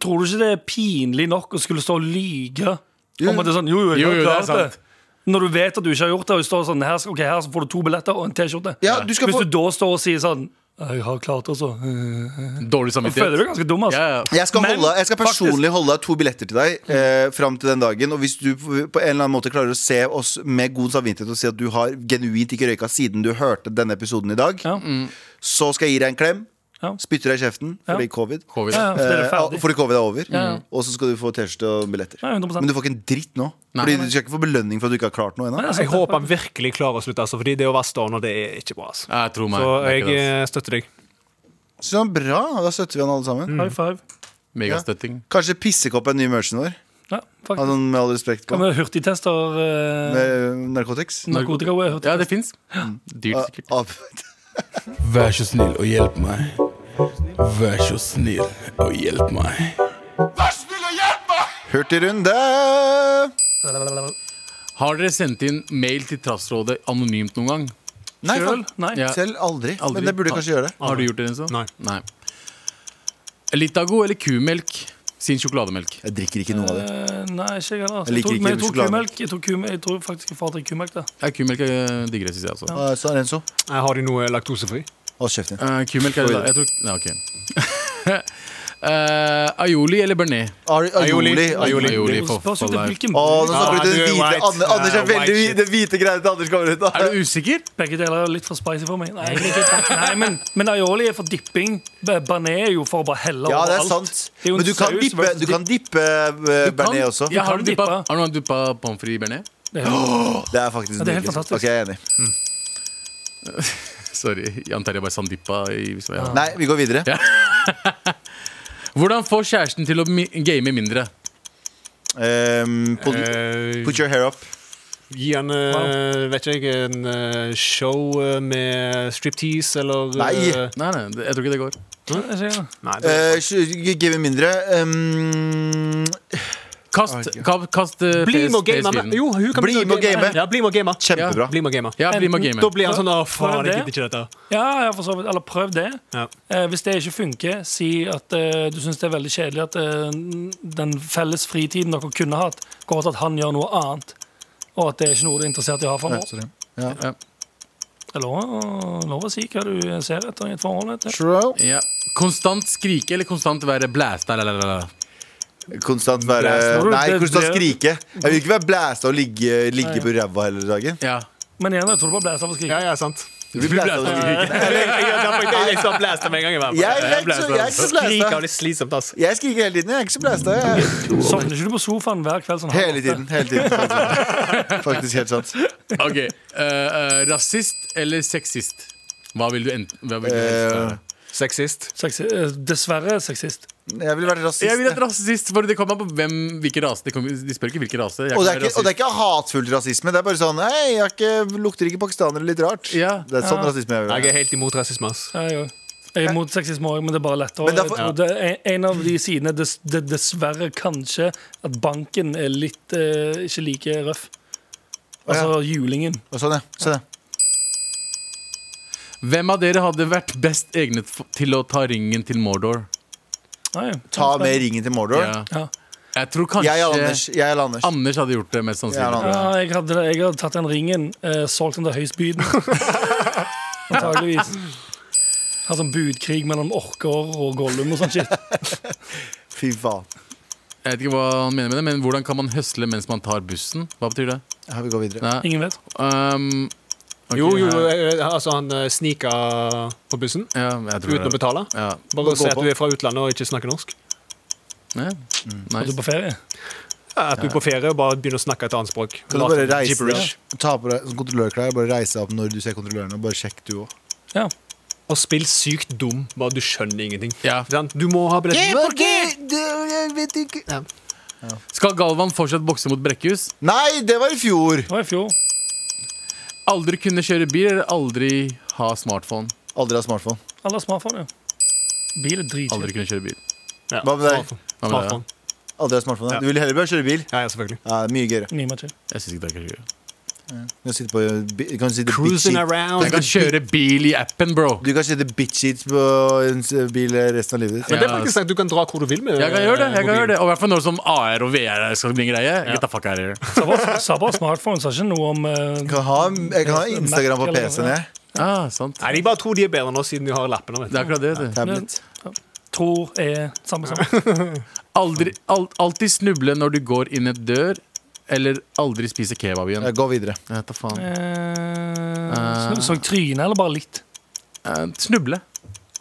tror du ikke det er pinlig nok å skulle stå og lyge
Jo.
om at det er sånn Jo, jo, jeg
Jo,
har
jo, det er
klart det.
sant.
Når du vet at du ikke har gjort det, og du står sånn her, skal- ok, her så får du to billetter og en T-skjorte.
Ja, du skal
Hvis
få-
du da står og sier sånn Jeg har klart det, altså. Føler
Dårlig
du
samvittighet.
deg ganske dum, altså.
Ja, ja.
Jeg skal,
Men,
holde, jeg skal personlig holde deg to billetter til deg eh, fram til den dagen. Og hvis du på en eller annen måte klarer å se oss med god samvittighet og si at du har genuint ikke røyka siden du hørte denne episoden i dag,
Ja.
så skal jeg gi deg en klem.
Ja.
Spytter deg i kjeften fordi
Ja.
covid.
Covid.
Ja, ja, så er det
Eh,
ferdig.
Fordi covid er over. Mm.
Ja, ja.
Og så skal du få T-skjorte og billetter.
Ja, Sånn. 100%.
Men du får ikke en dritt nå. Fordi Du skal ikke få belønning for at du ikke har klart noe ennå.
Nei,
Jeg håper han virkelig klarer å slutte, altså, Fordi det å være stoner, det er ikke bra. Altså.
Ja, tro meg.
Så
det er ikke
jeg
det, altså.
eh, støtter deg.
Sånn, bra, Da støtter vi han alle sammen.
High five.
Megastøtting.
Kanskje Pissekopp er den nye merchen vår.
Ja,
Ha
faktisk.
sånn Med all respekt.
Kan
Med
vi hurtigtester eh,
narkotics.
narkotika? hurtigtest?
Ja, det fins. Dyrt, sikkert.
Ab-
Vær så snill og hjelp meg. Vær så snill og hjelp meg.
Hurtigrunde!
Har dere sendt inn mail til Trassrådet anonymt noen gang?
Nei,
Selv?
faen.
Nei.
Ja.
Selv aldri.
Aldri.
Men det burde jeg kanskje gjøre det.
Har du gjort det? Enzo?
Nei.
Nei. Litago eller kumelk sin sjokolademelk?
Jeg drikker ikke noe av det.
Eh, Nei, ikke jeg heller. altså.
Jeg liker
tok-
ikke
men jeg tok
sjokolade.
kumelk. Jeg, tok kumelk. jeg tror faktisk jeg foretrekker kumelk. Da.
Ja, kumelk er diggere, syns jeg altså. også.
Ah, Så Renzo,
Eh, Har de noe laktosefri?
hold kjeften din.
Eh, kumelk er det da. Jeg tror Nei, OK. (laughs) Eh, aioli eller bearnés?
Ari- Aioli.
Aioli.
Aioli.
Aioli for,
Spørs
for
jo til
life.
hvilken
Å, nå snakker du
Ah,
til
du
den
er
hvite
white.
Anne- Anders er
Ah,
veldig
white
Den hvite greia til Anders kommer ut av.
Er du usikker?
Begge deler er litt for spicy for meg. Nei, egentlig ikke. Nei men, men aioli er for dipping. Ba- Bané er jo for å bare helle
Ja, det er
overalt.
sant.
Det er jo en
Men du kan
saus
dippe,
versus
du kan dippe eh, bearnés også.
Ja, har
Du kan
du duppa,
dippe.
har du duppa pommes frites i bearnés?
Det er faktisk
Ja, det er helt
nydelig.
fantastisk.
Ok, jeg er enig.
Sorry, Jan Terje bare sa han dippa i hvis jeg-
Nei, vi går videre.
Hvordan få kjæresten til å mi game mindre?
Ehm, put,
Eh,
put your hair up.
Gi han, eh, vet ikke jeg, en eh, show eh, med striptease eller
Nei.
eh,
Nei, nei, det- jeg tror ikke det går.
nei det,
Eh, sh- give me mindre. Ehm,
Kast, ka- kast eh,
Bli
PS-
med og game.
PS4.
han. Jo, hun kan
Bli med og game.
Ja, bli med og game.
Kjempebra.
Bli med og game.
Ja, bli med og game.
Da blir han sånn Å,
Prøv
faen, jeg
det.
gidder ikke dette.
Ja, ja, for så vidt. Eller prøv det.
Ja.
Eh, hvis det ikke funker, si at eh, du syns det er veldig kjedelig at eh, den felles fritiden dere kunne hatt, går til at han gjør noe annet, og at det er ikke noe du er interessert i å ha framover.
eh, sorry.
Det er lov, å- lov å si hva du ser etter i et forhold. vet du.
True.
Ja. Konstant skrike eller konstant være blæsta? la, la, la, la.
Konstant være
Blæsta.
Nei,
Det-
konstant
det-
skrike. Jeg vil ikke være blæsta og ligge, ligge på ræva hele dagen.
Ja.
Men igjen, jeg tror du bare blæser av å skrike.
Ja, ja, sant.
Du blir blæsta og skrike.
Eller, (laughs) jeg- jeg- jeg- jeg- Jeg sa blæsta med en gang. Jeg, bare,
Jeg er ikke så- jeg er ikke så blæsta.
Skrik av det slitsomt, ass.
Jeg skriker hele tiden. Jeg er ikke så blæsta. jeg.
Sovner ikke du på sofaen hver kveld? sånn
Hele tiden. hele tiden faktisk. Faktisk helt sant.
Ok. eh, eh, rasist eller sexist? Hva vil du enten hva vil du helst
Eh,
være?
Sexist.
Sexi eh, dessverre sexist.
jeg ville vært rasist.
Jeg vil at rasist, for det kommer an på hvem, hvilken rase. De, kommer, de spør ikke hvilken rase.
Og det,
Jeg kan
er
være
ikke, og det er
rasist.
ikke hatfull rasisme. Det er bare sånn Hei, jeg har ikke, lukter ikke pakistanere litt rart?
Ja.
Det er sånn rasisme jeg vil
Jeg
være.
er helt imot rasisme, ass.
Ja, jeg òg. Jeg er imot sexisme òg, men det er bare lettere.
Men derfor-
Jeg tror det er en av de sidene dess, det er dessverre kanskje at banken er litt eh, ikke like røff. Altså julingen.
Og Sånn, ja. Sånn, ja.
Hvem av dere hadde vært best egnet f- til å ta ringen til Mordor?
Nei,
Ta med ringen til Mordor.
Ja.
Ja.
Jeg tror kanskje
Jeg og Anders. Jeg eller Anders.
Anders hadde gjort det mest
Jeg eller
sannsynlig.
Ja,
Anders.
jeg, hadde, jeg hadde tatt den ringen, eh, solgt den til
(laughs)
høystbydende. Antageligvis. Hatt sånn budkrig mellom orker og Gollum og sånn shit.
Fy faen.
Jeg vet ikke hva han mener med det, men Hvordan kan man høsle mens man tar bussen? Hva betyr det?
Ja, vi går videre.
Nei.
Ingen vet.
Um, ok,
Jo, jo,
nei.
eh, altså han eh, snika på bussen
ja, jeg tror
uten å
det.
betale.
Ja.
Bare si
gå
at
på.
du er fra utlandet og ikke snakker norsk.
Ja.
Mm.
At du er
Nice.
på ferie.
Ja, At du er på ferie og bare begynner å snakke et annet språk.
Kan du bare
Late
reise
gibberish.
deg Ta på deg sånn kontrollørklær og bare reise deg opp når du ser kontrolløren, og bare sjekk du òg.
Ja.
Og spill sykt dum, bare du skjønner ingenting.
Ja.
Ikke sant? Du må ha billett.
Skal Galvan fortsatt bokse mot Brekkhus?
Nei, det var i fjor!
Det var i fjor.
Aldri kunne kjøre bil eller aldri ha smartphone?
Aldri ha smartphone.
Alle har smartphone, ja. Bil er dritkjipt.
Aldri kunne kjøre bil.
Ja.
Hva med deg?
Hva med deg?
Smartphone. Smartphone.
Aldri ha smartphone.
Ja.
Du ville heller bare kjøre bil.
Ja, ja, selvfølgelig.
Ja, mye gøyere.
Ni matcher.
Jeg synes ikke det er gøy.
Du kan sitte på bi- du kan sitte
Cruising
bitchy-
around.
Jeg kan kjøre bil i appen, bro.
Du kan sitte bitch-eat på en s- bil resten av livet ditt.
Men det er
Ja.
faktisk sant, du kan dra hvor du vil med
Jeg kan gjøre det. jeg kan
mobilen.
gjøre det Og i hvert fall når som AR og VR skal bli en greie. Get the fuck out of here.
Sa bare- Sa bare smartphone, sa ikke noe om eh,
Jeg kan ha, jeg kan ha Instagram på PC-en, jeg.
Ah, sant.
Nei, de bare tror de er bedre nå siden de har lappene.
Det
Vet du.
er akkurat det. du.
Tablet.
tror er samme som.
Aldri, al alltid snuble når du går inn et dør, eller aldri spise kebab igjen.
Ja, Gå videre.
Jeg vet da faen.
Eh, så jeg trynet, eller bare litt?
Eh, Snuble.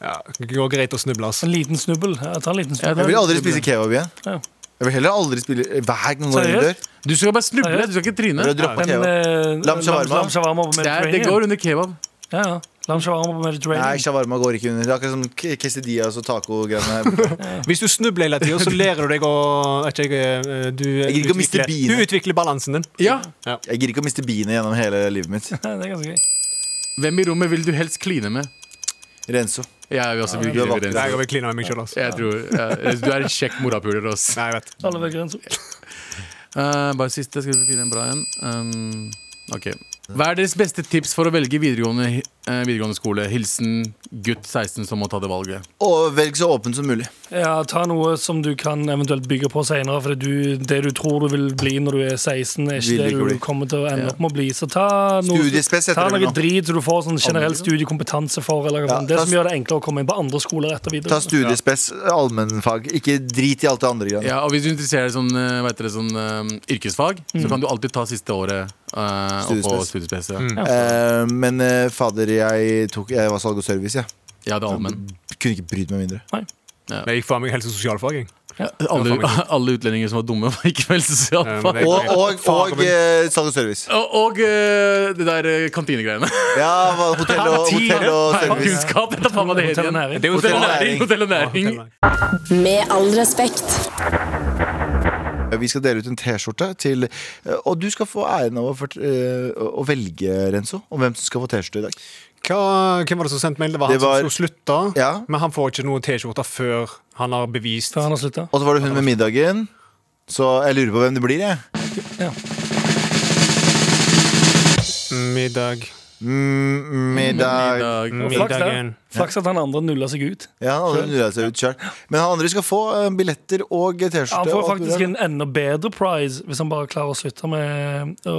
Ja, det går greit å snuble, ass.
En liten snubbel. Jeg tar en liten snubbel.
Ja, det-
Jeg vil aldri spise kebab igjen.
Ja.
Jeg vil heller aldri spille Hver gang jeg går inn i dør.
Seriøst?
Du skal bare snuble,
Seriøst?
du skal ikke tryne.
Bare droppe
En,
kebab.
eh,
Lam shawarma.
Lam shawarma på
Det, er, det
Mediterranean.
går under kebab.
Ja, ja. Lam shawarma på
Nei,
Mediterranean.
shawarma går ikke under. Det er akkurat som k- quesadillas og taco-greiene. her borte.
Hvis du snubler hele tida, så lærer du deg å vet ikke, jeg, eh, du,
Jeg gidder ikke å miste
utvikler-
biene.
Du utvikler balansen din.
Ja.
Jeg gidder ikke å miste biene gjennom hele livet mitt.
Nei, det er ganske gøy.
Hvem i rommet vil du helst kline med?
Renzo.
Jeg vil også vil
du er vakker.
grine med
Nei,
Renzo.
jeg vil kline med meg sjøl, ass.
Jeg tror, ja, du er en kjekk morapuler. ass.
Nei, jeg vet.
Alle ved grensa.
Eh, bare siste. Skal vi finne en bra en? Um, ok. Hva er deres beste tips for å velge videregående, eh, videregående skole? Hilsen gutt 16 som må ta det valget.
Og velg så åpent som mulig.
Ja, ta noe som du kan eventuelt bygge på senere, for det du, det du tror du vil bli når du er 16, er
Vil
ikke det
ikke bli.
du kommer til å ende
Ja.
opp med å bli. Så ta noe,
Studiespes heter
ta
det vel
noe
nå.
drit så du får sånn generell studiekompetanse for, eller
Ja,
hva faen. det
ta-
som gjør det enklere å komme inn på andre skoler
Ta
etter videre.
studiespes, allmennfag. Ikke drit i alt det andre greiene.
Ja, og Hvis du interesserer deg sånn, eh, hva heter det, sånn eh, yrkesfag, så kan du alltid ta siste året eh, og på studiespes. Ja.
Eh, men eh, fader, jeg, tok, jeg var salg og service, jeg.
Jeg hadde allmenn.
Kunne ikke brydd meg mindre.
Men jeg gikk faen meg helse- og sosialfag. jeg.
(laughs) Alle, alle utlendinger som var dumme, var ikke vel
Ja, men det-
sosialfag.
Og, og, og eh, Stat og service.
Og, og eh, det der eh, kantinegreiene.
Ja, hva- hotell og, hotell
(laughs)
og service.
Kunnskap! Dette er faen meg det heter
Hotell og
igjen.
næring.
Det er Hotell og næring. Hotell og næring.
Med all respekt.
Vi skal dele ut en T-skjorte til eh, Og du skal få æren av å, fort- eh, å å velge, Renzo, om hvem som skal få T-skjorte i dag.
Hva, hvem var det som sendte mail? Det var han
Det var-
som skulle slutte.
Ja.
Men han får ikke noen T-skjorter før han har bevist
Før han har slutta.
Og så var det hun med middagen. Så jeg lurer på hvem det blir, jeg.
middag.
Mm, middag.
Middag.
Flaks, da.
Middagen.
Flaks at han andre nulla seg ut.
Ja, han hadde nudda seg ut selv. Men han andre skal få eh, billetter og T-skjorte.
Han
og
får
alt det der.
faktisk en enda bedre prize hvis han bare klarer å slutte med å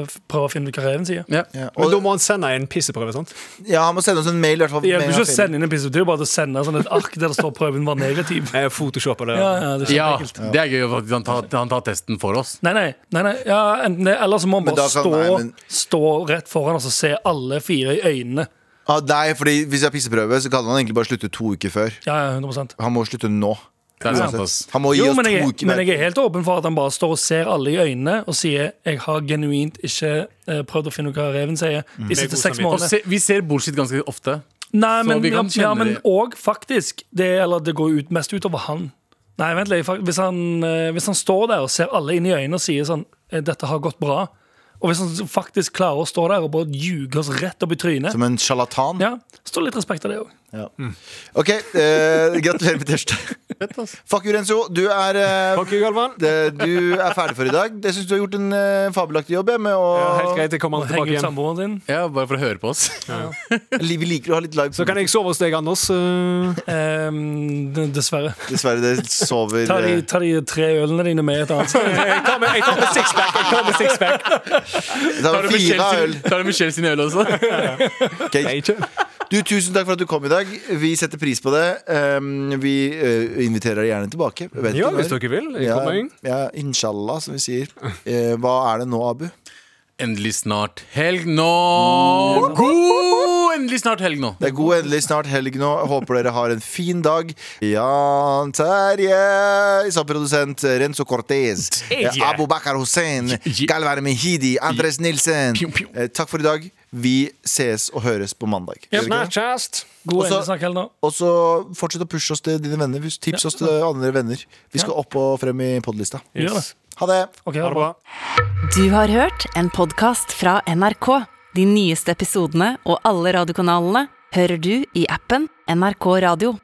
å prøve å finne ut hva reven sier.
Ja.
ja,
Men da
og,
må han sende en pisseprøve, sant?
ja, han må sende oss en mail, i hvert fall.
Det
med
hjelper
en
ikke å
film.
sende inn en pisse, det er jo bare å sende sånn et ark der det står prøven
(laughs)
var negativ.
Eh, Photoshoppe det.
Ja, ja, det er
Ja,
kjempeekkelt.
det er gøy faktisk. Han tar, han tar testen for oss.
Nei, nei, nei, nei. Ja, enten det, eller så må han
Men
bare
da kan-
stå,
nei, men-
stå rett foran oss og se alle fire i øynene.
ah, Nei, fordi hvis jeg har pisseprøve, så kan han egentlig bare slutte to uker før.
Ja, ja, 100
Han må slutte nå.
Det er sant, ass.
Uansett. Han må gi
jo,
oss
men jeg,
to
er-
uker
men jeg er helt åpen for at han bare står og ser alle i øynene og sier 'jeg har genuint ikke eh, prøvd å finne ut hva reven sier'. De sitter seks
god samvittighet.
Og
måneder.
se, vi ser bullshit ganske ofte.
Nei,
Så
men,
vi kan
ja,
kjenne
men
det.
og faktisk det, Eller det går ut, mest utover han. Nei, vent litt. fak- Hvis han, eh, hvis han står der og ser alle inn i øynene og sier sånn eh, 'Dette har gått bra', og hvis han faktisk klarer å stå der og bare ljuge oss rett opp i trynet
Som en sjarlatan.
ja, Stå litt respekt av det òg.
Ja.
Mm.
OK, eh, gratulerer med T-skjorte. Fuck you, Renzo. Du er eh,
Ok, Galvan.
det, Du er ferdig for i dag. Jeg syns du har gjort en eh, fabelaktig jobb. jeg, Med å,
Ja, Helt greit, jeg kommer han
Henge ut
tilbake igjen.
samboeren din.
Ja, Bare for å høre på oss.
Vi liker å ha litt live.
Så kan jeg sove hos deg, Anders. eh,
(laughs) Ehm, d- dessverre.
Dessverre, det sover
Ta de,
eh,
ta de tre ølene dine med et annet sted.
(laughs) Jeg tar med, jeg tar med sixpack. Jeg tar med sixpack.
det er fire øl.
Tar du Michelle sin øl også?
Ok. Du, Tusen takk for at du kom i dag. Vi setter pris på det. Um, vi eh, inviterer deg gjerne tilbake. Vet
Ja,
du når.
hvis dere vil. Jeg
ja,
kommer inn.
ja, Inshallah, som vi sier. Eh, hva er det nå, Abu?
Endelig snart helg nå! God! Endelig snart helg nå.
Det er god endelig snart helg nå. Jeg Håper dere har en fin dag. Jan Terje som produsent. Renzo Cortez. eh, Abu Bakar Hussein. Galvar Mehidi. Andres Nilsen.
Pju, pju.
Eh, takk for i dag. Vi ses og høres på mandag. Gjør vi ikke det?
Snarkast.
God
Og så-
endesnakk heller nå.
Og så fortsett å pushe oss til dine venner. Hvis- Tips oss til andre venner. Vi skal opp og frem i podlista.
Gjør det.
Ha det!
Ok,
Ha det bra.
Du har hørt en podkast fra NRK. De nyeste episodene og alle radiokanalene hører du i appen NRK Radio.